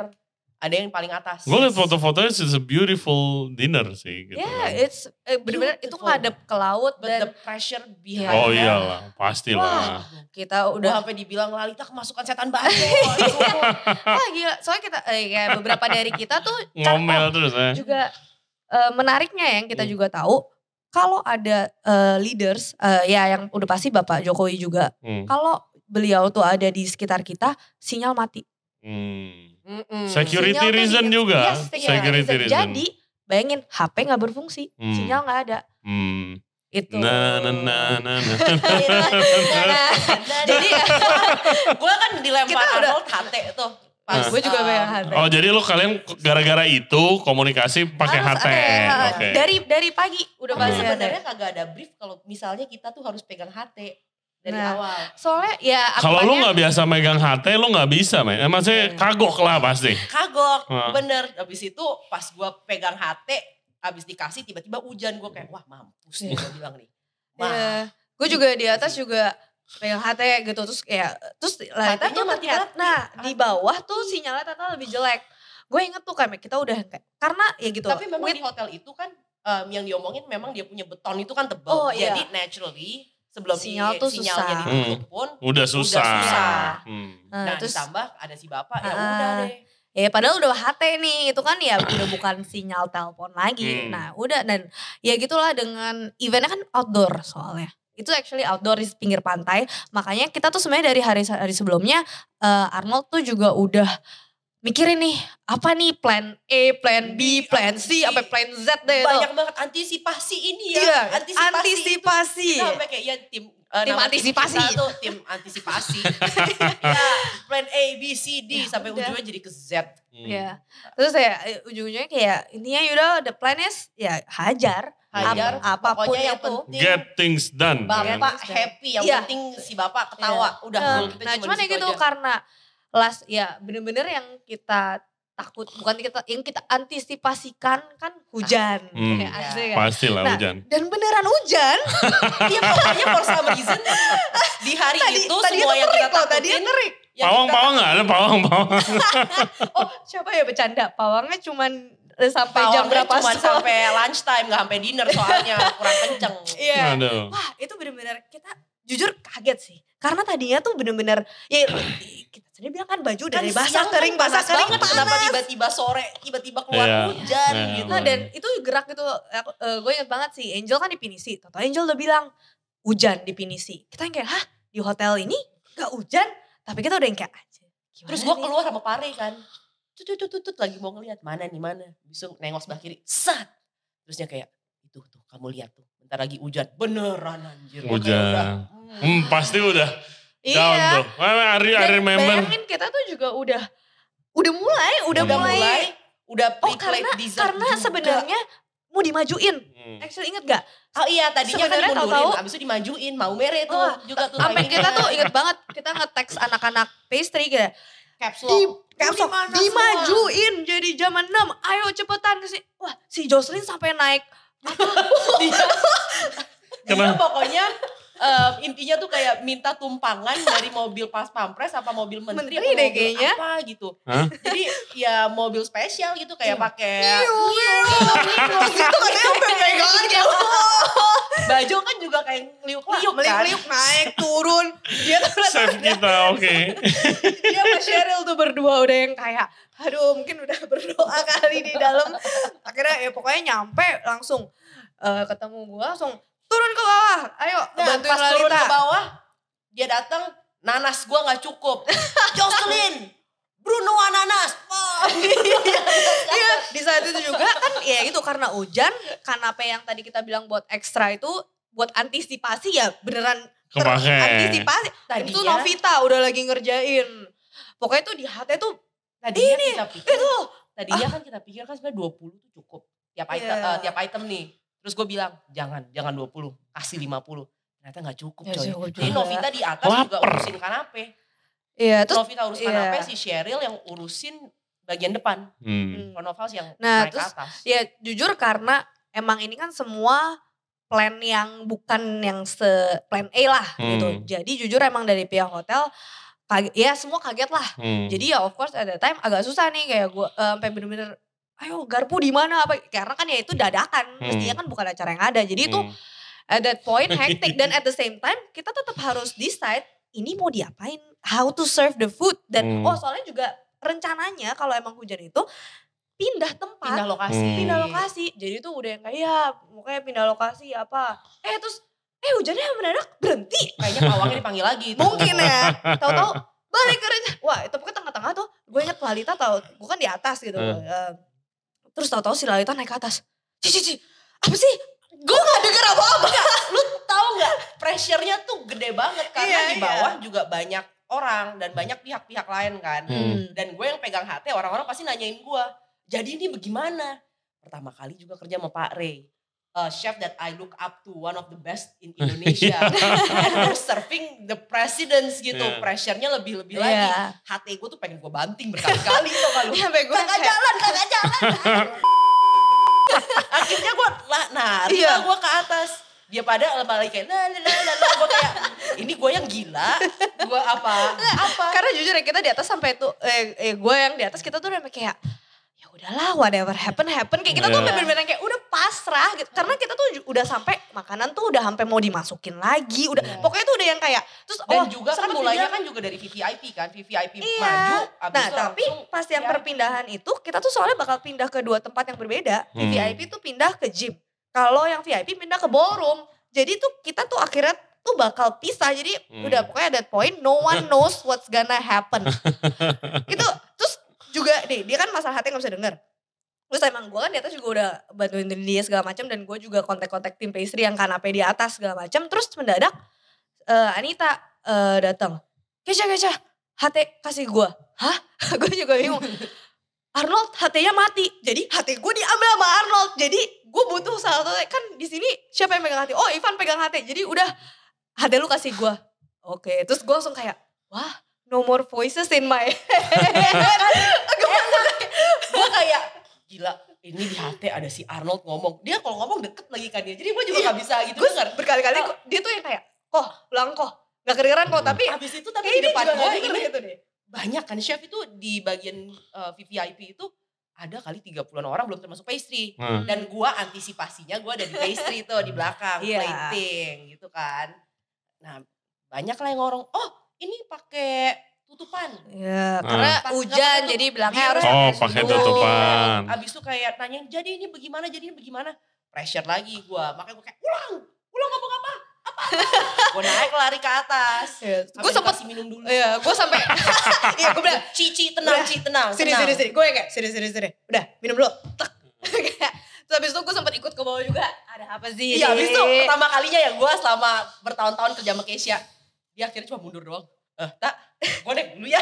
ada yang paling atas
Gue liat foto-fotonya, it's a beautiful dinner sih. Gitu.
Ya, it's eh, benar-benar itu
Beautiful.
ngadep ke laut
but the
dan
pressure behind
oh Nah.
that.
iyalah, pastilah.
kita
udah
udah
sampai dibilang Lalita kemasukan setan ya, batu
wah gila. Soalnya kita eh, ya beberapa dari kita tuh kan,
Ngomel terus ya.
oh, juga eh, menariknya yang kita
Hmm.
juga tahu kalau ada eh, leaders eh, ya yang udah pasti Bapak Jokowi juga.
Hmm.
Kalau beliau tuh ada di sekitar kita sinyal mati.
Hmm.
Mm-mm.
Security
Sinyal tuh
reason
di-
juga.
Yes, sinyal
Security
reason.
reason.
Jadi bayangin HP nggak berfungsi,
Hmm.
sinyal nggak ada.
Hmm.
Itu.
Nah, nah, nah,
Nah,
nah, nah.
Jadi ya,
gue kan dilempar
Kita udah-
Arnold hate tuh pas
Nah.
gue juga
um,
bayangin HP.
Oh jadi lo kalian gara-gara itu komunikasi pakai
Harus
HT.
ada, ha.
Oke.
Dari dari pagi
Tapi
udah pasti
Hmm.
ada.
sebenarnya kagak ada brief kalau misalnya kita tuh harus pegang hate dari
Nah.
awal
Soalnya ya
Kalau lo
anggapannya-
nggak biasa megang HT lo nggak bisa men. Eh, maksudnya
Iya.
kagok lah pasti.
kagok
Hah.
bener abis itu pas gue pegang hate abis dikasih tiba-tiba hujan gue kayak wah mampus nih gue bilang nih
Iya.
Wah,
Gue juga di atas juga pegang HT gitu terus kayak terus lah
HT-nya
itu
mati-mati.
ternyata nah di bawah tuh sinyalnya ternyata lebih jelek. Gue inget tuh kayak kita udah kayak- karena ya gitu.
tapi memang
with-
di hotel itu kan em, yang diomongin memang dia punya beton itu kan tebal
Oh, iya.
jadi naturally sebelum
Sinyal
di-
tuh
sinyalnya
susah.
ditutup pun
Udah susah.
susah.
Hmm.
nah,
Nah,
terus
ditambah ada si bapak ya
Ah,
udah deh.
Ya padahal udah HT nih, itu kan ya udah bukan sinyal telepon lagi.
Hmm.
Nah udah dan ya gitulah dengan eventnya kan outdoor soalnya. Itu actually outdoor di pinggir pantai. Makanya kita tuh sebenarnya dari hari hari sebelumnya eh, Arnold tuh juga udah mikirin nih apa nih plan A, plan
B,
B, plan
C.
C, sampai plan Z deh itu.
Banyak banget antisipasi ini ya.
Iya,
Antisipasi.
antisipasi.
Kita sampai kayak ya tim eh,
Iya. Tim
nama
antisipasi.
kita tuh tim antisipasi. ya, plan A B C D sampai
Ya udah.
ujungnya jadi ke Z.
Hmm.
Iya. Terus ya ujung-ujungnya kayak intinya yaudah the plan is ya hajar.
Hajar,
Ap- apapun
pokoknya yang
itu.
penting
Get things done.
bapak
kan?
Iya.
happy, yang
Iya.
penting si bapak ketawa. Udah,
Eh,
goal kita
nah cuman
di
ya
situ
gitu
aja.
karena last ya bener-bener yang kita takut bukan kita yang kita antisipasikan kan hujan
Hmm.
kayak
Iya.
asli kan.
Pastilah
Nah,
hujan.
dan beneran hujan
Iya pokoknya for some reason di hari
tadi
itu
tadi
semua yang kita
loh, gitu, tadi
takutin
ngerik
yang
Pawang,
kita-
pawang nggak ada pawang, pawang.
Iya. oh siapa ya bercanda pawangnya cuman eh, sampai
pawangnya
jam berapa
cuman
soal-
sampai lunch time nggak sampai dinner soalnya kurang kenceng.
iya
Hmm.
Aduh.
wah itu bener-bener kita jujur kaget sih karena tadinya tuh bener-bener ya kita sendiri bilang kan baju dari
Kan siang
basah
kan
kering basah
panas
kering
banget,
panas
Kenapa tiba-tiba sore tiba-tiba keluar
Iya.
hujan
Iya,
gitu.
Nah dan itu gerak gitu, aku- eh, gue inget banget sih Angel kan di Pinisi. Toto Angel udah bilang hujan di Pinisi. Kita yang kayak hah di hotel ini gak hujan? Tapi kita udah yang kayak aja.
Terus gue keluar sama Pare kan. Tut tut tut tut lagi mau ngeliat mana nih mana. Besok nengok sebelah kiri. Sat. Terusnya kayak itu tuh kamu lihat tuh. Bentar lagi hujan. Beneran anjir. Gua kayak
Hujan.
udah,
Hmm, pasti udah down
Iya.
tuh. Wah, I, I
Dan
remember.
bayangin kita tuh juga udah udah mulai, udah,
Udah
mulai.
mulai. Udah
Oh
pre-plate
karena
dessert
karena
juga.
sebenarnya mau dimajuin.
Hmm.
Actually inget gak?
Oh iya tadinya kan
Sebenarnya
dimundurin.
tahu-tahu-
Abis itu dimajuin. Mau mere tuh.
Wah,
juga tuh.
Sampai
timingnya.
kita tuh inget banget kita nge-text anak-anak pastry gitu.
Caps
di
lock.
kapsok
Dimana semua?
dimajuin jadi jam 6 ayo cepetan ke si- wah si Jocelyn sampai naik
Dia, dia
Kenapa?
Iya, pokoknya em, intinya tuh kayak minta tumpangan dari mobil pas pampres apa mobil menteri,
Menteri
apa
deh
mobil
kayaknya.
apa gitu.
Hah?
Jadi ya mobil spesial gitu kayak
Iya.
pakai
gitu katanya sampai pegangan kayak
baju kan juga kayak liuk-liuk kan.
meliuk-liuk naik turun dia tuh
Save kita, oke.
dia sama Cheryl tuh berdua udah yang kayak aduh mungkin udah berdoa kali di dalam akhirnya ya pokoknya nyampe langsung eh, ketemu gua langsung turun ke bawah ayo
Nah,
bantuin
pas turun
Lalita."
ke bawah dia datang nanas gua nggak cukup. Jocelyn, Bruno ananas. Wah.
Iya, di saat itu juga kan ya gitu karena hujan, kanape yang tadi kita bilang buat ekstra itu buat antisipasi ya beneran
Kepake.
antisipasi. Tadi
Tadinya-
itu Novita udah lagi ngerjain. Pokoknya tuh di hati tuh
Tadinya kita pikir
itu
tadinya kan kita pikir kan sebenarnya 20 tuh cukup tiap item
Ah. Iya.
eh, tiap item nih. Terus gue bilang, jangan, jangan 20, kasih 50. Ternyata gak cukup
Hmm. Nggak
coy.
cukup
Jadi
juga.
Novita di atas juga
Laper.
urusin kanape.
Iya, terus
Novita urus
iya.
kanape, si Cheryl yang urusin bagian depan.
Hmm.
Front of house yang
Nah,
naik ke
terus-
atas.
ya jujur karena emang ini kan semua plan yang bukan yang se plan A lah gitu.
Hmm.
Jadi jujur emang dari pihak hotel kaget- ya semua kaget lah
Hmm.
Jadi ya of course at that time agak susah nih kayak gue eh, sampai bener-bener ayo garpu di mana apa karena kan ya itu dadakan
Hmm.
mestinya kan bukan acara yang ada. Jadi itu
Hmm.
at that point hectic dan at the same time kita tetap harus decide ini mau diapain, how to serve the food dan
Hmm.
oh soalnya juga rencananya kalau emang hujan itu pindah tempat
Pindah lokasi.
Hmm.
pindah lokasi. Jadi tuh udah yang kayak ya mukanya pindah lokasi apa. Eh terus eh hujannya mendadak berhenti.
Kayaknya pawangnya dipanggil lagi. tuh.
Mungkin ya. Tahu-tahu balik ke rencana. Wah itu pokoknya tengah-tengah tuh gue inget Lalita tahu gue kan di atas gitu.
Hmm.
Eh, terus tahu-tahu si Lalita naik ke atas. Cici cici apa sih? Gue gak denger apa-apa.
Lu tahu nggak pressure-nya tuh gede banget karena
Iya,
di bawah juga banyak orang dan banyak pihak-pihak lain kan.
Hmm.
Dan gue yang pegang hati orang-orang pasti nanyain gue. Jadi ini bagaimana? Pertama kali juga kerja sama Pak Ray. A chef that I look up to, one of the best in Indonesia. And we're serving the presidents gitu.
Iya.
Pressure-nya lebih-lebih lagi.
Iya.
Hati gue tuh pengen gue banting berkali-kali tau gak lu.
Sampai gue
Kakak
kayak
jalan, kakak jalan. Akhirnya gue lah, narik
Iya.
lah gue ke atas. Dia pada malah kayak la la la la gue kayak ini gue yang gila, gue apa apa.
karena jujur ya kita di atas sampai tuh eh, eh, gue yang di atas kita tuh udah kayak ya udahlah whatever happen happen kayak kita tuh
Iya.
bener-bener kayak udah pasrah gitu. karena kita tuh ju- udah sampai makanan tuh udah sampai mau dimasukin lagi udah
Iya.
pokoknya tuh udah yang kayak terus
Dan
oh,
juga kan
sempet
mulainya
bilang,
kan juga dari VVIP kan, VVIP
Iya.
maju. Abis
nah
itu
tapi
langsung
pas yang
VIP.
perpindahan itu kita tuh soalnya bakal pindah ke dua tempat yang berbeda
Hmm.
VIP tuh pindah ke gym kalau yang VIP pindah ke ballroom jadi tuh kita tuh akhirnya tuh bakal pisah jadi
Hmm.
udah pokoknya at that point no one knows what's gonna happen itu terus juga deh dia kan masalah hati nggak bisa denger terus emang gue kan di atas juga udah bantuin dia segala macam dan gue juga kontak-kontak tim pastry yang kanape di atas segala macam terus mendadak eh, Anita eh, datang Kesha Kesha HT kasih gue hah gue juga bingung Arnold HT-nya mati jadi HT gue diambil sama Arnold jadi gue butuh salah satu kan di sini siapa yang pegang HT oh Ivan pegang HT jadi udah HT lu kasih gue oke terus gue langsung kayak wah no more voices in my head gue kayak
Gila, ini di HT ada si Arnold ngomong. Dia kalau ngomong deket lagi kan dia. Jadi gue juga gak bisa gitu
gue
denger.
berkali-kali gua- dia tuh yang kayak kok ulang kok nggak kedengeran kok tapi
Abis itu tapi
kayak
di depan gue ini
gitu deh
banyak kan chef itu di bagian eh, VVIP itu ada kali 30-an orang belum termasuk pastry.
Hmm.
Dan gua antisipasinya gua ada di pastry tuh di belakang
Iya.
plating gitu kan. Nah, banyak lah yang orang, "Oh, ini pakai tutupan."
ya
Ah.
karena
Pas
hujan
tutup,
jadi bilangnya
dia
harus
Oh,
pakai
pakai
sendok.
tutupan.
Iya. Abis itu kayak nanya, "Jadi ini bagaimana? Jadi ini bagaimana?" Pressure lagi gua. Makanya gua kayak, "Ulang, ulang apa apa?" Apa? gua naik lari ke atas.
Iya,
Gue
gue sempet
minum dulu.
ya gue sampai iya gue bilang
Cici tenang,
Udah.
Cici tenang.
sini
tenang.
sini sini gue kayak sini sini sini udah minum dulu tek Hmm. Kayak, terus habis itu gue sempet ikut ke bawah juga ada apa sih
Iya,
ini?
abis itu pertama kalinya ya gue selama bertahun-tahun kerja sama Keisha. Dia akhirnya cuma mundur doang. Eh, tak, gue naik dulu ya.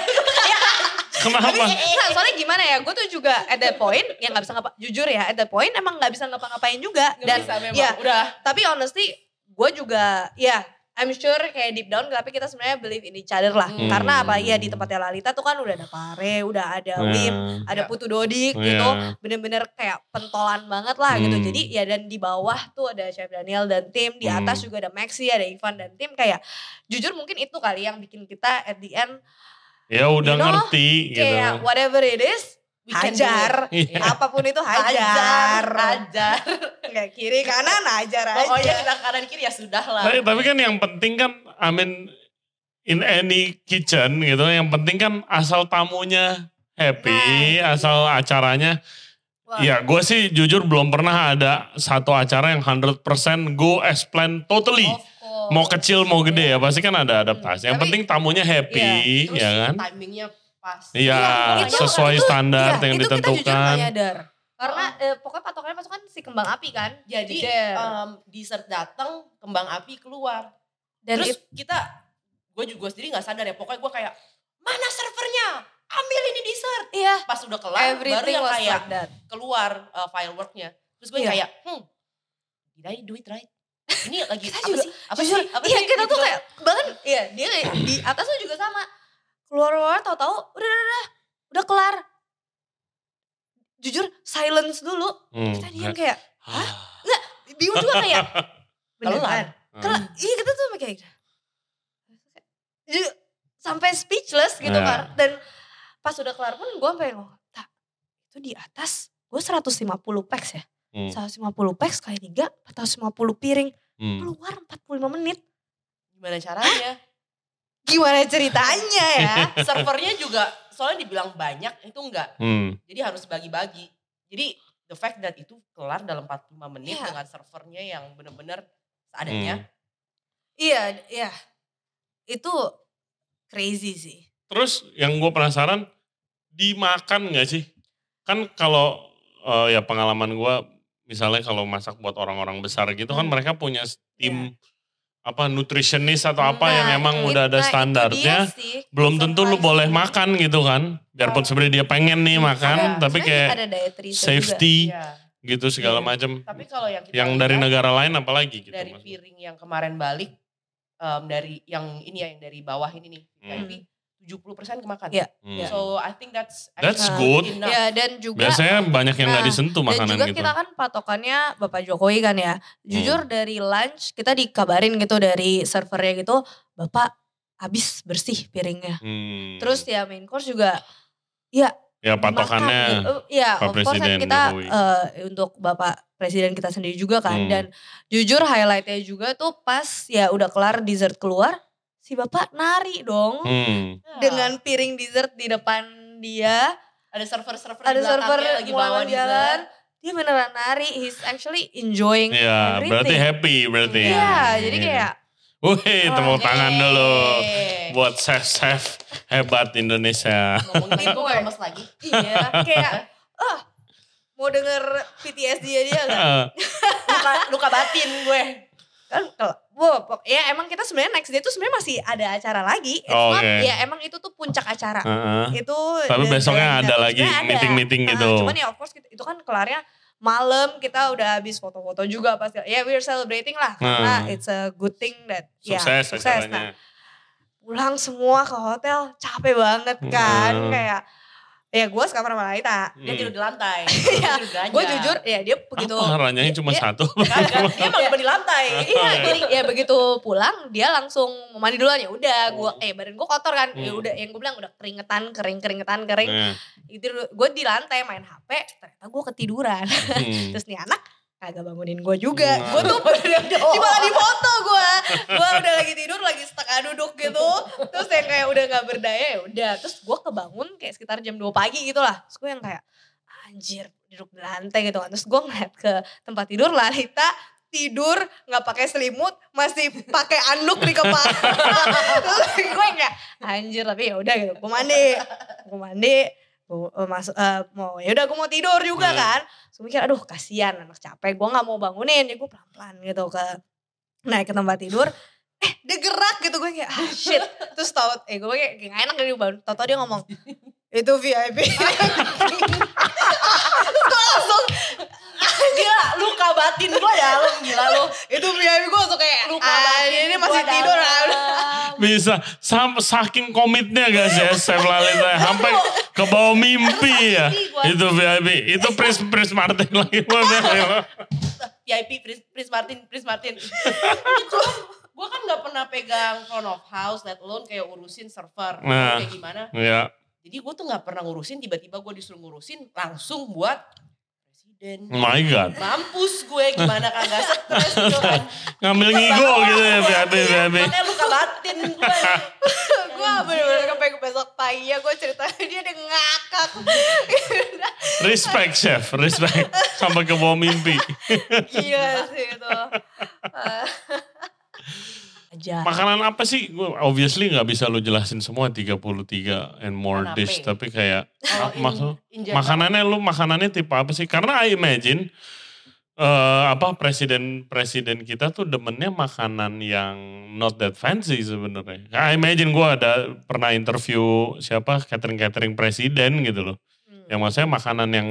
Kenapa?
Nah, soalnya gimana ya, gue tuh juga at that point, ya nggak bisa ngapa, jujur ya, at that point emang nggak bisa ngapa-ngapain juga.
Gak
Dan
bisa memang,
ya,
udah.
tapi honestly, gue juga, ya I'm sure kayak deep down, tapi kita sebenarnya believe in each other lah.
Hmm.
Karena apa, ya di tempatnya Lalita tuh kan udah ada Pare, udah ada Wim,
Nah,
ada
Ya.
Putu Dodik
Iya.
gitu. Bener-bener kayak pentolan banget lah gitu.
Hmm.
Jadi ya dan di bawah tuh ada Chef Daniel dan tim, di
Hmm.
atas juga ada Maxi, ada Ivan dan tim. Kayak jujur mungkin itu kali yang bikin kita at the end
Ya udah
You know,
ngerti gitu.
kayak whatever it is,
We can do it.
hajar.
Iya.
apapun itu
Hajar,
hajar.
hajar. Oh, iya.
Nggak kiri kanan hajar aja.
Pokoknya kita kanan kiri ya sudah lah.
Tapi, tapi kan yang penting kan, I mean, in any kitchen gitu, yang penting kan asal tamunya happy, asal acaranya.
Nah. Wah.
Ya gue sih jujur belum pernah ada satu acara yang 100% go as planned totally.
Of course.
Mau kecil mau gede ya pasti kan ada adaptasi.
Oh. Tapi-
Yang
iya,
penting tamunya happy,
Terus
ya kan?
timingnya pas.
Iya,
itu-
sesuai
itu-
standar
iya,
yang
itu Kita jujur nggak
ditentukan.
nyadar. Karena
Oh.
eh, pokoknya patokannya masuk kan si kembang api kan.
Jadi
Jejer.
em, dessert datang, kembang api keluar.
dan
Terus
itu
kita, gue juga sendiri gak sadar ya. Pokoknya gue kayak, mana servernya? Ambil ini dessert.
iya
Pas udah kelar, baru
everything
yang
was
kayak,
like that.
keluar uh, fireworknya. Terus gue
Iya.
kayak, hmm, did I do it right? Ini lagi
Kita
apa
juga-
sih? Apa
Jujur,
sih? Apa
iya
sih?
kita
Gitu
tuh
loh.
kayak bahkan iya dia kayak di atas tuh juga sama. Keluar keluar tahu-tahu udah udah udah udah kelar. Jujur silence dulu.
Hmm.
Kita diam kayak
Ah.
bingung juga kayak beneran. Kalau
Hmm.
iya kita tuh kayak gitu. Ju- sampai speechless gitu
Nah.
kan. Dan pas udah kelar pun gue sampai ngomong, tak itu di atas gue 150 packs ya.
Hmm.
150 packs kali 3, 450 piring.
Hmm.
Keluar 45 menit.
Gimana caranya?
Gimana ceritanya ya?
Servernya juga soalnya dibilang banyak itu enggak.
Hmm.
Jadi harus bagi-bagi. Jadi the fact that itu kelar dalam 45 menit
Iya.
dengan servernya yang bener-bener
Hmm.
seadanya.
iya, iya. Itu crazy sih.
Terus yang gue penasaran dimakan nggak sih? Kan kalau eh, ya pengalaman gue misalnya kalau masak buat orang-orang besar gitu kan
Hmm. Iya.
mereka punya tim apa nutritionist atau apa
Nah,
yang emang
itu-
udah ada
nah, itu
standarnya.
dia sih.
Belum tentu lu
Surprise.
boleh makan gitu kan. Biarpun sebenarnya dia pengen nih makan,
Iya.
tapi
Sebenarnya
kayak
ada dietary
safety
Iya.
gitu segala
Iya.
macam.
Tapi kalau yang kita
Yang dari
lihat,
negara lain apalagi gitu.
dari
maksudnya.
piring yang kemarin balik em, dari yang ini ya yang dari bawah ini nih.
Hmm.
Tapi 70% kemakan.
Iya.
Hmm.
Ya.
So I think that's
That's
actually
good.
enough.
Ya dan juga
Biasanya banyak yang nggak
Nah,
disentuh
dan juga
makanan gitu. Hmm.
kita kan patokannya Bapak Jokowi kan ya. Jujur dari lunch kita dikabarin gitu dari servernya gitu, Bapak habis bersih piringnya.
Hmm.
Terus ya main course juga
ya
dimakan gitu.
patokannya.
Eh, Iya,
Pak
of course kan
Presiden
kita
Jokowi.
eh, untuk Bapak Presiden kita sendiri juga kan.
Hmm.
Dan jujur highlightnya juga tuh pas ya udah kelar dessert keluar, si Bapak nari dong
Hmm.
Nah,
dengan piring dessert di depan dia.
ada server-server
ada
di
server
belakangnya lagi
mulai
bawa
mau jalan dia beneran nari he's actually enjoying
Iya, berarti kan?
everything.
happy berarti.
Iya, jadi
Iya.
kayak oh,
Wih, tepuk tangan
yeay.
dulu buat chef-chef hebat Indonesia.
Ngomongin gue
Teamwork.
lemes lagi.
iya kayak ah mau denger PTSD aja nggak
Luka, luka batin gue.
kan kalau wow, pok- ya emang kita sebenarnya next day tuh sebenarnya masih ada acara lagi It's not-
Oke.
ya emang itu tuh puncak acara
Heeh.
itu
Tapi
the- the-
besoknya ada
the-
lagi
sebenarnya ada.
meeting-meeting
Ah,
gitu.
cuman ya of course kita- itu kan kelarnya malam kita udah habis foto-foto juga pas ya we're celebrating lah karena
Hmm.
it's a good thing that ya, Nah,
Sukses acaranya.
pulang semua ke hotel capek banget kan
Hmm.
kayak ya gue sekamar sama Laita
Dia tidur
Hmm.
di lantai.
Iya, gue
Gue
jujur ya dia begitu
Apa laranya cuma
Iya.
satu?
Dia emang lupa di lantai.
iya jadi ya begitu pulang dia langsung mau mandi duluan ya udah gue eh badan gue kotor kan ya
Oh. Hmm.
udah yang gue bilang udah keringetan kering keringetan kering Gitu,
Nah,
itu gue di lantai main hp ternyata gue ketiduran
hmm.
terus nih anak kagak bangunin gue juga
Nah.
gue tuh tiba di foto gue gue udah lagi tidur lagi setengah duduk gitu terus yang kayak udah nggak berdaya ya udah terus gue kebangun kayak sekitar jam 2 pagi gitu lah terus gue yang kayak anjir duduk di lantai gitu kan terus gue ngeliat ke tempat tidur Larita tidur nggak pakai selimut masih pakai anduk di kepala terus gue kayak anjir tapi ya udah gitu gue mandi gue mandi gue eh, masuk eh, mau ya udah gue mau tidur juga
Hmm.
kan Terus gue mikir aduh kasihan anak capek gue nggak mau bangunin ya gue pelan pelan gitu ke naik ke tempat tidur eh dia gerak gitu gue kayak ah shit terus tau eh gue kayak kayak nggak enak gitu baru tau tau dia ngomong itu VIP Terus gue langsung
Gila, luka batin gue dalam. Gila lu.
itu VIP gue langsung kayak
Luka
ah
batin
ini
gua
masih tidur
dalam.
ah.
Iya. Bisa, sam, saking komitnya gak sih Chef Lalita, sampai ke bawah mimpi ya.
mimpi gua.
Itu VIP, itu Pris, Pris Martin lagi. gua bilang.
VIP Pris, Pris Martin, Pris Martin. gue kan nggak pernah pegang front of house, let alone kayak urusin server,
Nah.
kayak gimana.
Ya,
Jadi gue tuh nggak pernah ngurusin, tiba-tiba gue disuruh ngurusin langsung buat presiden.
my God.
Mampus gue gimana kagak stres gitu kan.
Ngambil ngigo gitu ya VIP, VIP.
Makanya luka batin gue.
gue bener-bener sampai besok pagi ya gue cerita dia dia ngakak
Respect Chef, respect. Sampai ke bawah mimpi.
gila sih itu Ah.
Aja.
Makanan apa sih? Gue obviously nggak bisa lu jelasin semua 33 and more
Kenapa?
dish. Tapi kayak
Kalau
apa
in-
maksud-
Oh, in general-
makanannya lu makanannya tipe apa sih? Karena I imagine eh, apa presiden presiden kita tuh demennya makanan yang not that fancy sebenarnya. I imagine gue ada pernah interview siapa catering catering presiden gitu loh.
Hmm.
Yang maksudnya makanan yang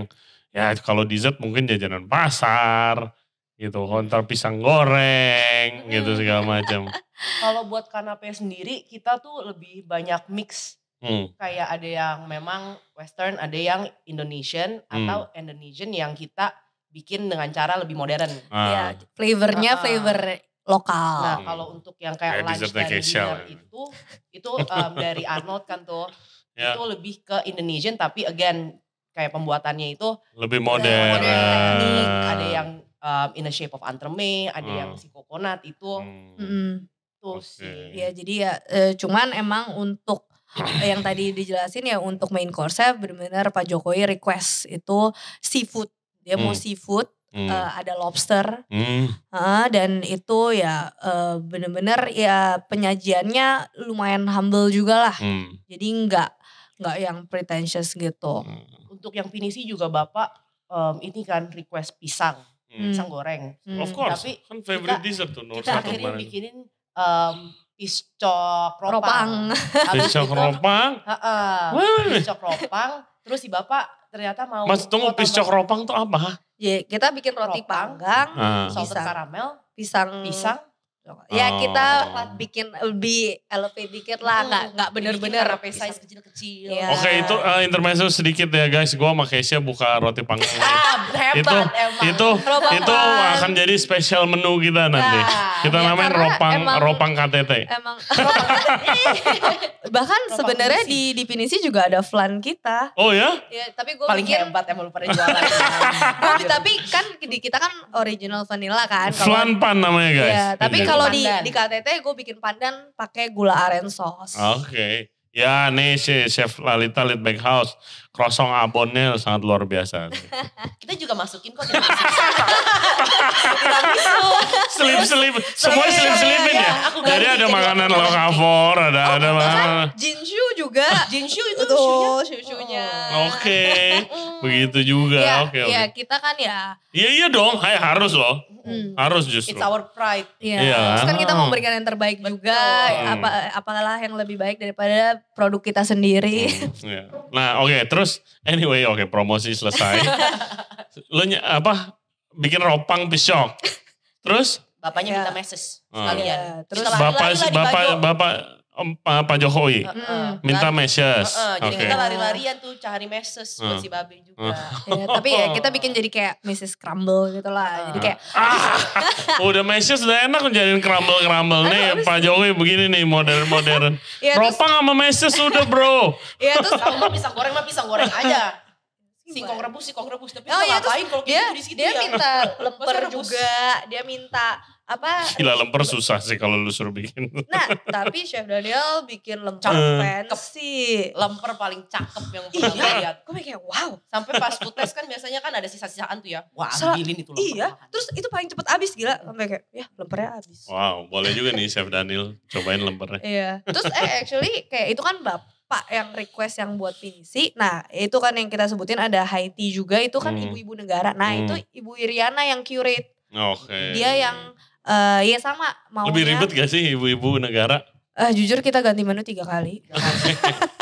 ya kalau dessert mungkin jajanan pasar gitu konter pisang goreng gitu segala macam.
Kalau buat kanape sendiri, kita tuh lebih banyak mix.
Hmm.
Kayak ada yang memang western, ada yang Indonesian,
Hmm.
atau Indonesian yang kita bikin dengan cara lebih modern.
ya
Ah.
flavornya
Ah.
flavor lokal
Nah,
Hmm.
kalau untuk yang kayak
Kayak
lunch
dessertnya
dan
kayak shell
dinner
ya.
itu, itu um, dari Arnold kan tuh,
Ya.
itu lebih ke Indonesian tapi again kayak pembuatannya itu ada
lebih modern.
yang teknik, ada yang um, in the shape of entremet, ada
Hmm.
yang si coconut itu
Hmm.
Mm.
tuh
Oke.
sih.
Ya jadi ya eh, cuman emang untuk eh, yang tadi dijelasin ya untuk main course-nya benar-benar Pak Jokowi request itu seafood. Dia mau
Hmm.
seafood,
Hmm.
eh, ada lobster
Hmm.
eh, dan itu ya eh, benar-benar ya penyajiannya lumayan humble juga lah.
Hmm.
Jadi nggak nggak yang pretentious gitu.
Hmm.
Untuk yang pinisi juga Bapak um, ini kan request pisang,
Hmm.
pisang goreng.
Hmm.
Of course.
Tapi
kan favorite
kita-
dessert tuh nomor
Kita
satu
akhirnya
kemarin.
bikinin um, piscok ropang.
Ropang.
Habis
Pisang
itu,
ropang.
heeh,
Wah.
piscok ropang. Terus si Bapak ternyata mau
Mas tunggu
mau tambah
pisang ropang tuh apa?
Ya kita bikin roti
Ropang.
panggang,
Ah.
salted
Pisang. Hmm.
karamel,
pisang
pisang,
Ya kita
Oh.
bikin lebih elevate dikit
Hmm.
lah, nggak nggak bener-bener
Bikin karape size kecil-kecil.
Iya.
Oke itu eh, intermezzo sedikit ya guys. Gua sama Keisha buka roti panggang. nih.
Ah, hebat
Itu-
emang.
itu
Ropang.
itu akan jadi spesial menu kita nanti. Kita
ya,
namain
karena
ropang
emang-
ropang KTT.
Emang bahkan
Ropang
sebenarnya di di Pinisi juga ada flan kita.
Oh ya?
Ya, tapi gue
paling
bikin
hebat emang lu pada jualan.
gua- tapi kan di kita kan original vanilla kan. kalau-
Flan pan namanya guys.
Iya, tapi
Iya.
kalau di
Pandan.
di KTT gue bikin pandan pakai gula aren sauce.
Oke. Ya nih si Chef Lalita Litback House. Krosong abonnya sangat luar biasa.
Kita juga masukin kok. tidak masuk.
Se- selip-selip. Semua selip-selipin ya.
Aku ganti
Jadi
Oh,
ada
jadi
makanan
aku ganti.
lokavor, ada ada makanan.
Bahkan Jinshu juga.
Jinshu itu shoe-nya.
Tuh, shushunya.
Oke. Begitu juga.
Iya,
Ya,
Oke,
ya,
oke.
kita kan ya.
Iya, iya dong. Hai, harus loh.
Hmm.
Harus justru.
It's our pride.
Iya.
Iya.
Terus kan kita memberikan yang terbaik juga,
Betul.
apa apalah yang lebih baik daripada produk kita sendiri.
Iya. Nah, oke, terus anyway, oke, promosi selesai. Lo ny- apa bikin ropang pisok. Terus
Bapaknya
Iya.
minta message
Hmm.
sekalian.
Iya, terus-
Setelah
bapak
lari-lari
bapak
Bagio.
bapak em, Pak Pak Jokowi
Heeh.
minta
Lari-
meses.
Heeh, Jadi
Oke.
kita lari-larian tuh cari message buat
Hmm.
si Babe juga.
Hmm.
Ya, tapi ya kita bikin jadi kayak Mrs. Crumble gitu lah. Jadi kayak
Ah, udah meses udah enak jadiin crumble crumble nih Pak Jokowi begini nih modern modern.
ya terus
Ropang sama meses udah bro.
ya terus
Kalau mau pisang goreng mah pisang goreng aja. Singkong rebus, singkong rebus. Tapi
Oh,
kita
iya, terus
ngapain kalau
dia
gitu di situ
dia
ya?
minta lemper
Masa rebus?
juga, dia minta apa?
Gila lemper susah sih kalau lu suruh bikin.
Nah, tapi Chef Daniel bikin lemper
Cakep.
fancy.
Lemper paling cakep yang pernah gue
Iya,
lihat.
gue kayak wow.
Sampai pas food test kan biasanya kan ada sisa-sisaan tuh ya. Wah
Sa-
ambilin itu lemper.
Iya,
makan.
terus itu paling cepet habis gila. Sampai kayak ya lempernya habis.
Wow, boleh juga nih Chef Daniel cobain lempernya.
Iya. Terus eh actually kayak itu kan bapak yang request yang buat pinisi. Nah itu kan yang kita sebutin ada Haiti juga itu kan
Hmm.
ibu-ibu negara. Nah
Hmm.
itu ibu Iriana yang curate.
Oke.
Dia yang eh ya sama maunya.
lebih ribet gak sih ibu-ibu negara?
Eh, jujur kita ganti menu tiga kali.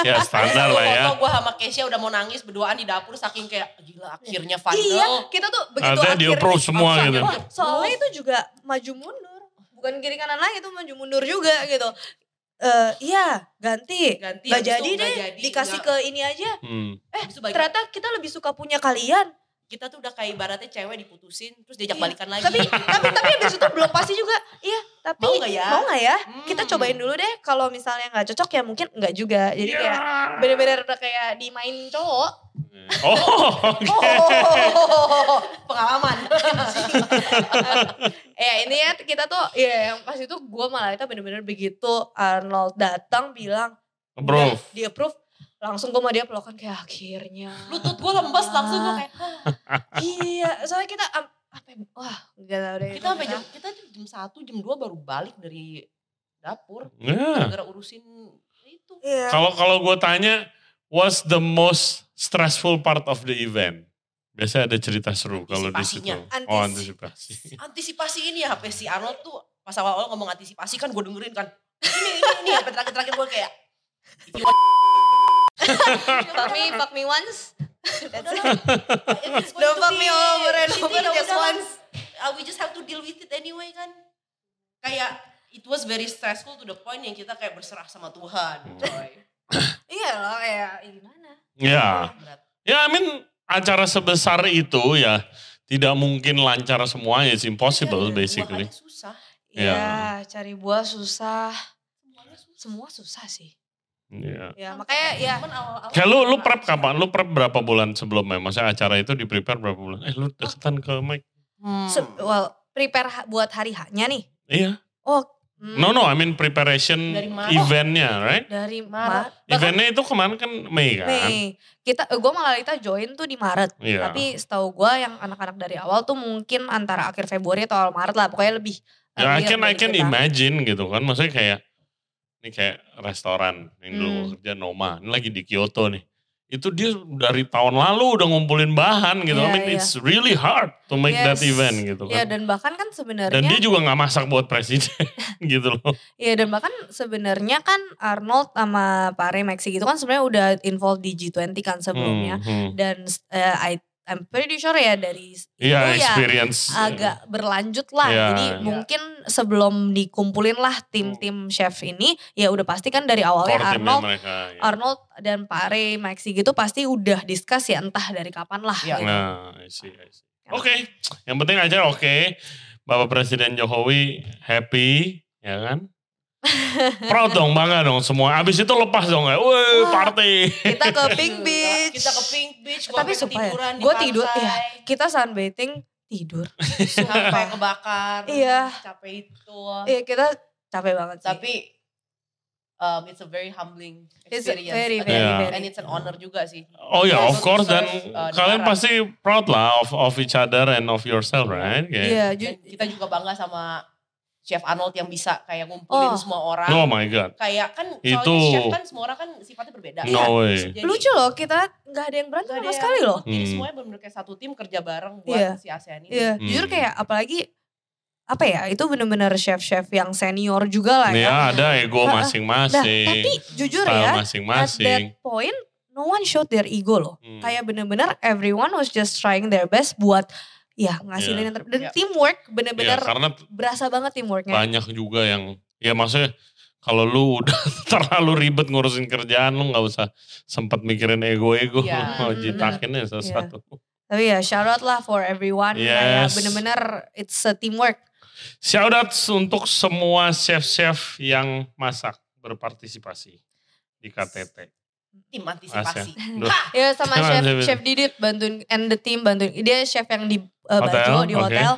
Ya standar lah ya.
Foto gue sama Kesia udah mau nangis berduaan di dapur saking kayak gila akhirnya final.
Iya kita tuh begitu
Ada di approve semua
Soalnya-
gitu.
wah, Soalnya itu juga maju mundur. Bukan kiri kanan lagi itu maju mundur juga gitu. Eh iya ganti.
Ganti. habis
Gak
itu
jadi
Iya, nggak
deh
jadi,
dikasih
nggak-
ke ini aja.
Hmm.
habis itu bagi-
Ternyata kita lebih suka punya kalian.
kita tuh udah kayak ibaratnya cewek diputusin terus diajak
Iya.
balikan lagi.
tapi tapi tapi habis itu belum pasti juga iya tapi
Mau nggak ya?
mau nggak ya
Hmm.
kita cobain dulu deh kalau misalnya nggak cocok ya mungkin nggak juga jadi
Ya.
kayak bener-bener udah kayak dimain cowok
Oh, oke.
Oh, pengalaman.
ya ini ya kita tuh ya yang pas itu gue malah itu bener-bener begitu Arnold datang bilang
Bro,
"Udah, di approve langsung gue sama dia pelukan kayak akhirnya
Lutut gue lemes langsung gue kayak
iya soalnya kita am- apa ya, wah gak tau deh
kita sampai jam kita tuh jam satu jam dua baru balik dari dapur
ya.
gara-gara urusin itu
Iya.
Kalau kalau gue tanya, what's the most stressful part of the event? Biasanya ada cerita seru kalau di situ.
Antisipasinya.
Oh, antisipasi.
antisipasi ini ya HP si Arnold tuh pas awal-awal ngomong antisipasi kan gue dengerin kan ini ini ini sampai terakhir-terakhir gue kayak if you want-
fuck me fuck me once
Udah lah, if it's going
Don't
to
fuck
be
me over and
shitty,
over
ya
just
udah lah.
once.
Uh, we just have to deal with it anyway kan kayak it was very stressful to the point yang kita kayak berserah sama Tuhan coy
iya loh ya gimana
Ya,
Berat.
ya, I mean acara sebesar itu ya tidak mungkin lancar semuanya. It's
Iya,
impossible basically.
Buahannya susah
Iya.
Iya, cari buah susah.
semuanya susah
Semua susah sih.
Iya.
Ya, makanya ya
Cuman awal-awal
Kayak lu, lu
susah.
prep kapan? Lu prep berapa bulan sebelumnya? Maksudnya acara itu di prepare berapa bulan? Eh lu deketan ke mic.
Hmm.
se- well, prepare ha- buat hari haknya nih.
Iya.
Oh, hmm,
No no, I mean preparation
Dari Maret.
eventnya, right?
dari
Maret.
Maret.
Eventnya itu kemarin kan Mei kan?
Nih, kita eh, gue malah kita join tuh di Maret.
Iya.
Tapi setahu gue yang anak-anak dari awal tuh mungkin antara akhir Februari atau awal Maret lah, pokoknya lebih.
Ya, I
earlier
can, I
dari
can
kita.
imagine gitu kan. Maksudnya kayak, ini kayak restoran yang dulu
Hmm.
gua kerja Noma. Ini lagi di Kyoto nih. Itu dia dari tahun lalu udah ngumpulin bahan gitu. I
Iya,
mean
iya.
it's really hard to make
Yes.
that event gitu
Ya
kan.
dan bahkan kan sebenarnya
Dan dia juga nggak masak buat presiden gitu loh.
Iya dan bahkan sebenarnya kan Arnold sama Pare Maxi gitu kan sebenarnya udah involved di G20 kan sebelumnya
Hmm, hmm.
dan eh, I I'm pretty sure ya dari s-
Iya
itu ya
experience.
agak berlanjut lah.
Iya.
Jadi
Iya.
mungkin sebelum dikumpulin lah tim-tim chef ini ya udah pasti kan dari awalnya
core timnya
Arnold
mereka. ya.
Arnold dan Pare Maxi gitu pasti udah discuss ya entah dari kapan lah.
Iya.
gitu.
Nah, I see, I see. Oke, yang penting aja oke. Bapak Presiden Jokowi happy, ya kan? Proud dong, bangga dong semua. Abis itu lepas dong kayak, woi
Wah.
party.
Kita ke Pink Beach.
Iya. Kita ke Pink Beach, gua
Tapi
sampai
sumpah ya,
ketiduran di
gue tidur,
pantai,
iya. Kita sunbathing tidur.
Sampai kebakar.
Iya.
Capek itu.
Iya kita capek banget sih.
Tapi um, it's a very humbling
It's
experience.
very,
And-
very,
Yeah.
very.
And it's an honor juga sih.
Oh ya,
Yeah,
Iya,
of
so
course
to
dan
serve, uh,
kalian
negara.
pasti proud lah of of each other and of yourself, right? Kayak,
Iya,
Dan
ju-
kita juga bangga sama Chef Arnold yang bisa kayak ngumpulin
Oh.
semua orang.
Oh my god.
Kayak kan soalnya
Itu-
chef kan semua orang kan sifatnya berbeda.
No way.
Jadi-
lucu loh kita nggak ada yang berantem
Nggak ada
sama
yang-
sekali loh.
Jadi
Hmm.
semuanya benar-benar kayak satu tim kerja bareng buat
Iya.
si ASEAN ini.
Iya,
Hmm.
jujur kayak apalagi apa ya itu bener-bener chef-chef yang senior juga lah ya.
Ya ada ego
Ah, ah. Nah, tapi
masing-masing,
jujur
style
ya, at that
masing-masing.
point no one showed their ego loh.
Hmm.
Kayak bener-bener everyone was just trying their best buat ya ngasilin
Iya.
yang ter- dan
Iya.
teamwork
Ya,
bener-bener
karena
berasa banget teamworknya.
banyak juga yang ya maksudnya kalau lu udah terlalu ribet ngurusin kerjaan lu nggak usah sempat mikirin ego-ego
Iya.
lu mau
Mm-mm.
jitakin ya sesuatu.
Tapi ya shout out lah for everyone kayak
Yes.
bener-bener it's a teamwork.
Shout out untuk semua chef-chef yang masak berpartisipasi di KTT.
Tim antisipasi.
Asia. Duh,
Ya sama
Jangan,
chef
jangan.
chef Didit bantuin and the team bantuin. Dia chef yang di uh,
Hotel,
Bajo di
oke.
hotel.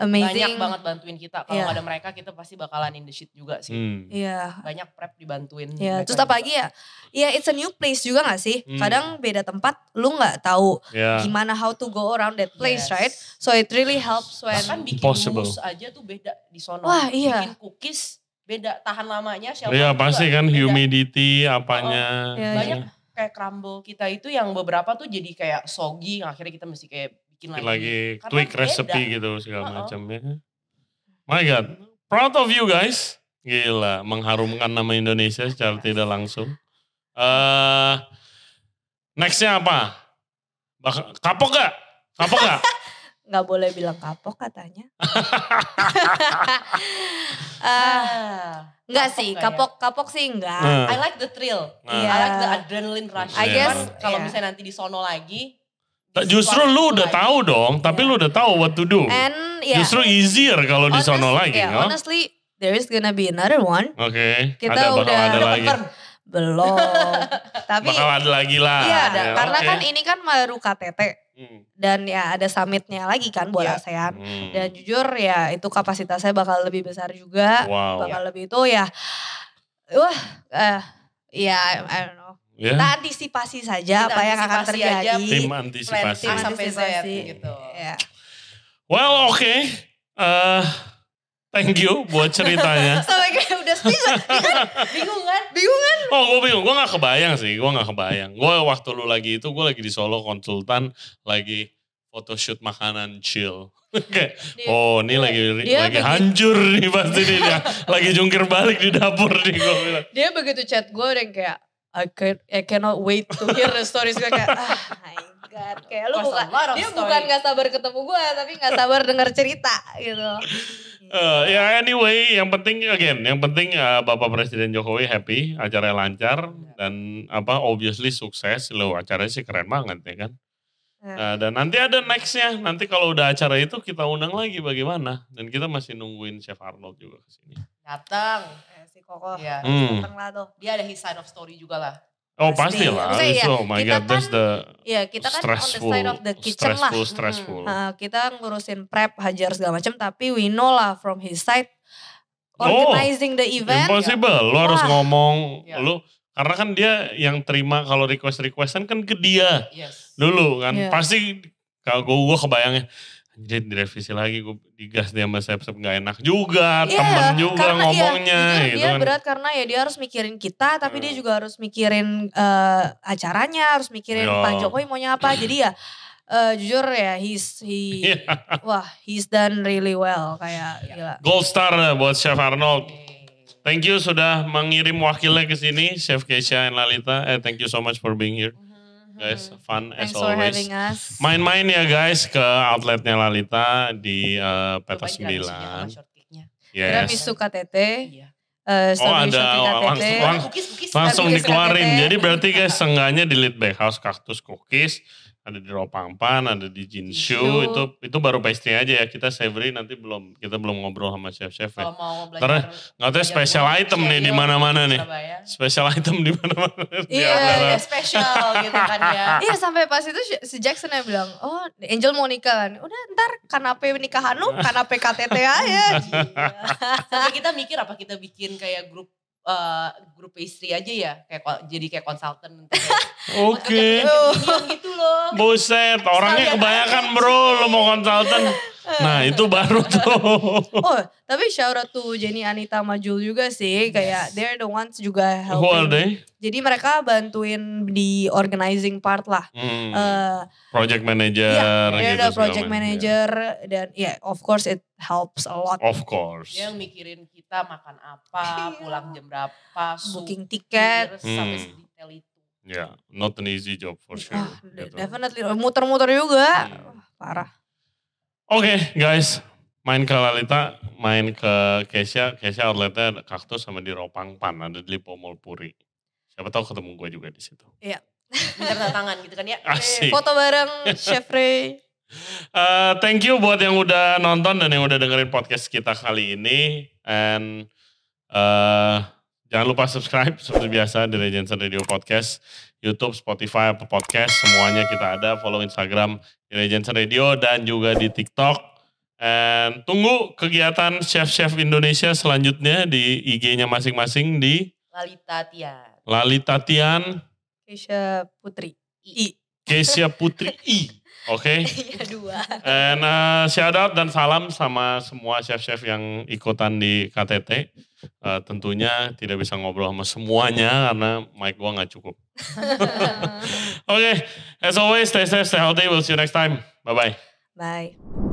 Banyak
Amazing.
banget bantuin kita. Kalau
Iya.
nggak ada mereka kita pasti bakalan in the shit juga sih.
hmm.
Iya,
Banyak prep dibantuin.
Ya,
mereka
terus
juga.
apalagi ya, ya it's a new place juga gak sih?
Hmm.
Kadang beda tempat, lu nggak tahu
Ya.
gimana how to go around that place,
Yes.
right? So it really helps when,
Bahkan bikin
Possible.
mousse aja tuh beda di sono.
Wah, iya.
Bikin cookies beda tahan lamanya shelf
Iya
life juga
pasti kan
beda.
humidity apanya.
Iya,
Banyak kayak crumble kita itu yang beberapa tuh jadi kayak soggy yang akhirnya kita mesti kayak bikin
Nah,
lagi.
Bikin lagi
iya.
Karena
tweak
beda.
resepi gitu segala
Uh-oh.
macam ya. My God, proud of you guys. Gila, mengharumkan nama Indonesia secara tidak langsung. eh nextnya apa? Bak- kapok gak? Kapok gak?
nggak boleh bilang kapok katanya.
Ah,
Ah, nggak
kapok
sih,
nggak ya?
kapok kapok sih enggak.
Eh,
Ah. I like the thrill.
eh.
Iya.
I like the adrenaline rush.
I guess,
Cuman kalau
yeah.
misalnya nanti di sono lagi.
Tak, Justru lu udah tahu dong, tapi lu udah tahu what to do.
And ya,
Justru easier kalau di
honest-
sono lagi,
ya,
no?
honestly there is gonna be another one.
Oke,
Kita
ada bakal
udah-
ada
udah
lagi.
Belum. Tapi
bakal ada lagi lah.
Iya,
ada,
Ya,
karena
oke.
kan ini kan baru KTT
Hmm.
dan ya ada summitnya lagi kan buat
Iya.
ASEAN.
Hmm.
Dan jujur ya itu kapasitasnya bakal lebih besar juga.
Wow.
Bakal lebih itu ya. Wah, eh ya I- I don't know.
Ya.
Kita antisipasi saja
Kita
apa yang akan
antisipasi aja.
terjadi.
Tim
Plan
antisipasi.
A sampai Z
Antisipasi.
gitu.
Ya.
Well, oke. Eh, thank you buat ceritanya.
Sampai kayak udah season. iya
Bingung kan?
Bingung kan?
Oh, gue bingung. Gue gak kebayang sih. Gue gak kebayang. Gue waktu lu lagi itu, gue lagi di Solo konsultan, lagi photoshoot makanan chill. Oke. oh, ini lagi
Iya. dia
lagi
begitu-
hancur nih pasti nih. dia. lagi jungkir balik di dapur nih gue bilang.
Dia begitu chat gue udah yang kayak I, can- I cannot wait to hear the stories gue kayak ah my god kayak lu
Of course,
bukan
a lot of
dia
story.
bukan gak sabar ketemu gue tapi gak sabar denger cerita gitu
Eh, ya anyway, yang penting again, yang penting eh, Bapak Presiden Jokowi happy, acaranya lancar dan apa obviously sukses. Lo acaranya sih keren banget ya kan.
Hmm.
Nah, dan nanti ada nextnya, nanti kalau udah acara itu kita undang lagi bagaimana. Dan kita masih nungguin Chef Arnold juga kesini.
Datang.
Eh, si Koko
Iya.
Hmm.
datang lah tuh
Dia ada his side of story juga lah.
Oh
Pasti.
pasti lah,
Maksudnya ya,
oh my
kita
god, that's
kan
the
Iya kita kan
stressful,
on the side of the kitchen lah.
stressful, stressful.
Nah, kita ngurusin prep, hajar segala macam. Tapi we know lah from his side
Oh,
organizing the event.
Impossible, lo harus
Wah.
ngomong,
Ya.
lo karena kan dia yang terima kalau request requestan kan ke dia.
Yes.
dulu kan
Iya.
pasti kalau gue gue kebayangnya jadi direvisi lagi gue digas dia sama sep nggak enak juga
Iya,
Kan temen juga
karena iya,
ngomongnya
jujur
gitu
dia
kan
berat karena ya dia harus mikirin kita, tapi dia
Hmm.
juga harus mikirin eh, acaranya, harus mikirin
Iya.
Pak Jokowi maunya apa. Jadi ya eh, jujur ya, he's he,
Iya.
wah he's done really well kayak gila.
gold star eh, buat chef Arnold
Yeay.
thank you sudah mengirim wakilnya ke sini chef Keisha and Lalita eh thank you so much for being here guys fun
Mm-hmm. Thanks
as
for
always
having us.
main-main ya guys ke outletnya Lalita di eh, Peta
Cobain tiramisu-nya sama
9
shortcake-nya.
yes
Tiramisu KTT,
Iya.
eh,
Oh,
strawberry
ada
shortcake
langsung-
KTT.
Lang-
Cookies-cookies.
langsung
Cookies
dikeluarin.
KTT.
Jadi berarti guys seenggaknya di Lead Back House Kaktus Cookies, ada di Ropangpan, ada di
Jinshu.
Jinshu, itu itu baru pastry aja ya. Kita savory nanti belum, kita belum ngobrol sama chef-chef ya.
Kalau mau
Ntar-
belajar.
Nggak tahu special
belajar
item nih
Surabaya,
di mana-mana nih.
Surabaya.
Special item di mana-mana. Di
Iya,
antara-
Iya, special gitu kan ya.
Iya sampai pas itu si Jackson yang bilang, oh Angel mau nikah kan. Udah ntar kanape kan nikahan lu, kanape KTT aja. Gila.
Sampai kita mikir apa kita bikin kayak grup eh, grup pastry aja ya kayak ko- jadi kayak konsultan kayak
Oke.
maksudnya gitu loh
Buset, orangnya
Sekalian
kebanyakan bro, lo mau konsultan. Nah itu baru tuh.
Oh, tapi shout out to Jenny Anita Majul juga sih, kayak they're the ones juga
Who are
helping.
they?
Jadi mereka bantuin di organizing part lah.
Hmm,
Eh,
project manager
ya, they're
gitu
the
segala
project
macam, ya.
manager dan ya of course it helps a lot.
Of course.
dia
Ya.
yang mikirin kita makan apa
Iya.
pulang jam berapa su-
Booking tiket,
supir, sampai
Hmm.
sedetail itu
Ya, not an easy job for sure.
ah,
gitu.
definitely muter-muter juga. Wah,
Hmm.
Parah.
Oke guys, main ke Lalita, main ke Kesia, Kesia outletnya ada kaktus sama di Ropang Pan, ada di Lipo Mall Puri. Siapa tahu ketemu gue juga di situ.
minta tanda tangan gitu kan ya
Asik.
Foto bareng Chef Ray.
Eh, thank you buat yang udah nonton dan yang udah dengerin podcast kita kali ini. And eh, jangan lupa subscribe seperti biasa di Regency Radio Podcast, YouTube, Spotify, Apple Podcast, semuanya kita ada. Follow Instagram di Regency Radio dan juga di TikTok. And tunggu kegiatan chef-chef Indonesia selanjutnya di IG-nya masing-masing di
Lalita Tian
Lali Tatian,
Keisha Putri. I.
Kesia Putri I. Oke.
Iya dua.
And uh, shout out dan salam sama semua chef-chef yang ikutan di KTT. Uh, tentunya tidak bisa ngobrol sama semuanya karena mic gua nggak cukup. Oke, as always stay safe, stay healthy. We'll see you next time. Bye bye.
Bye.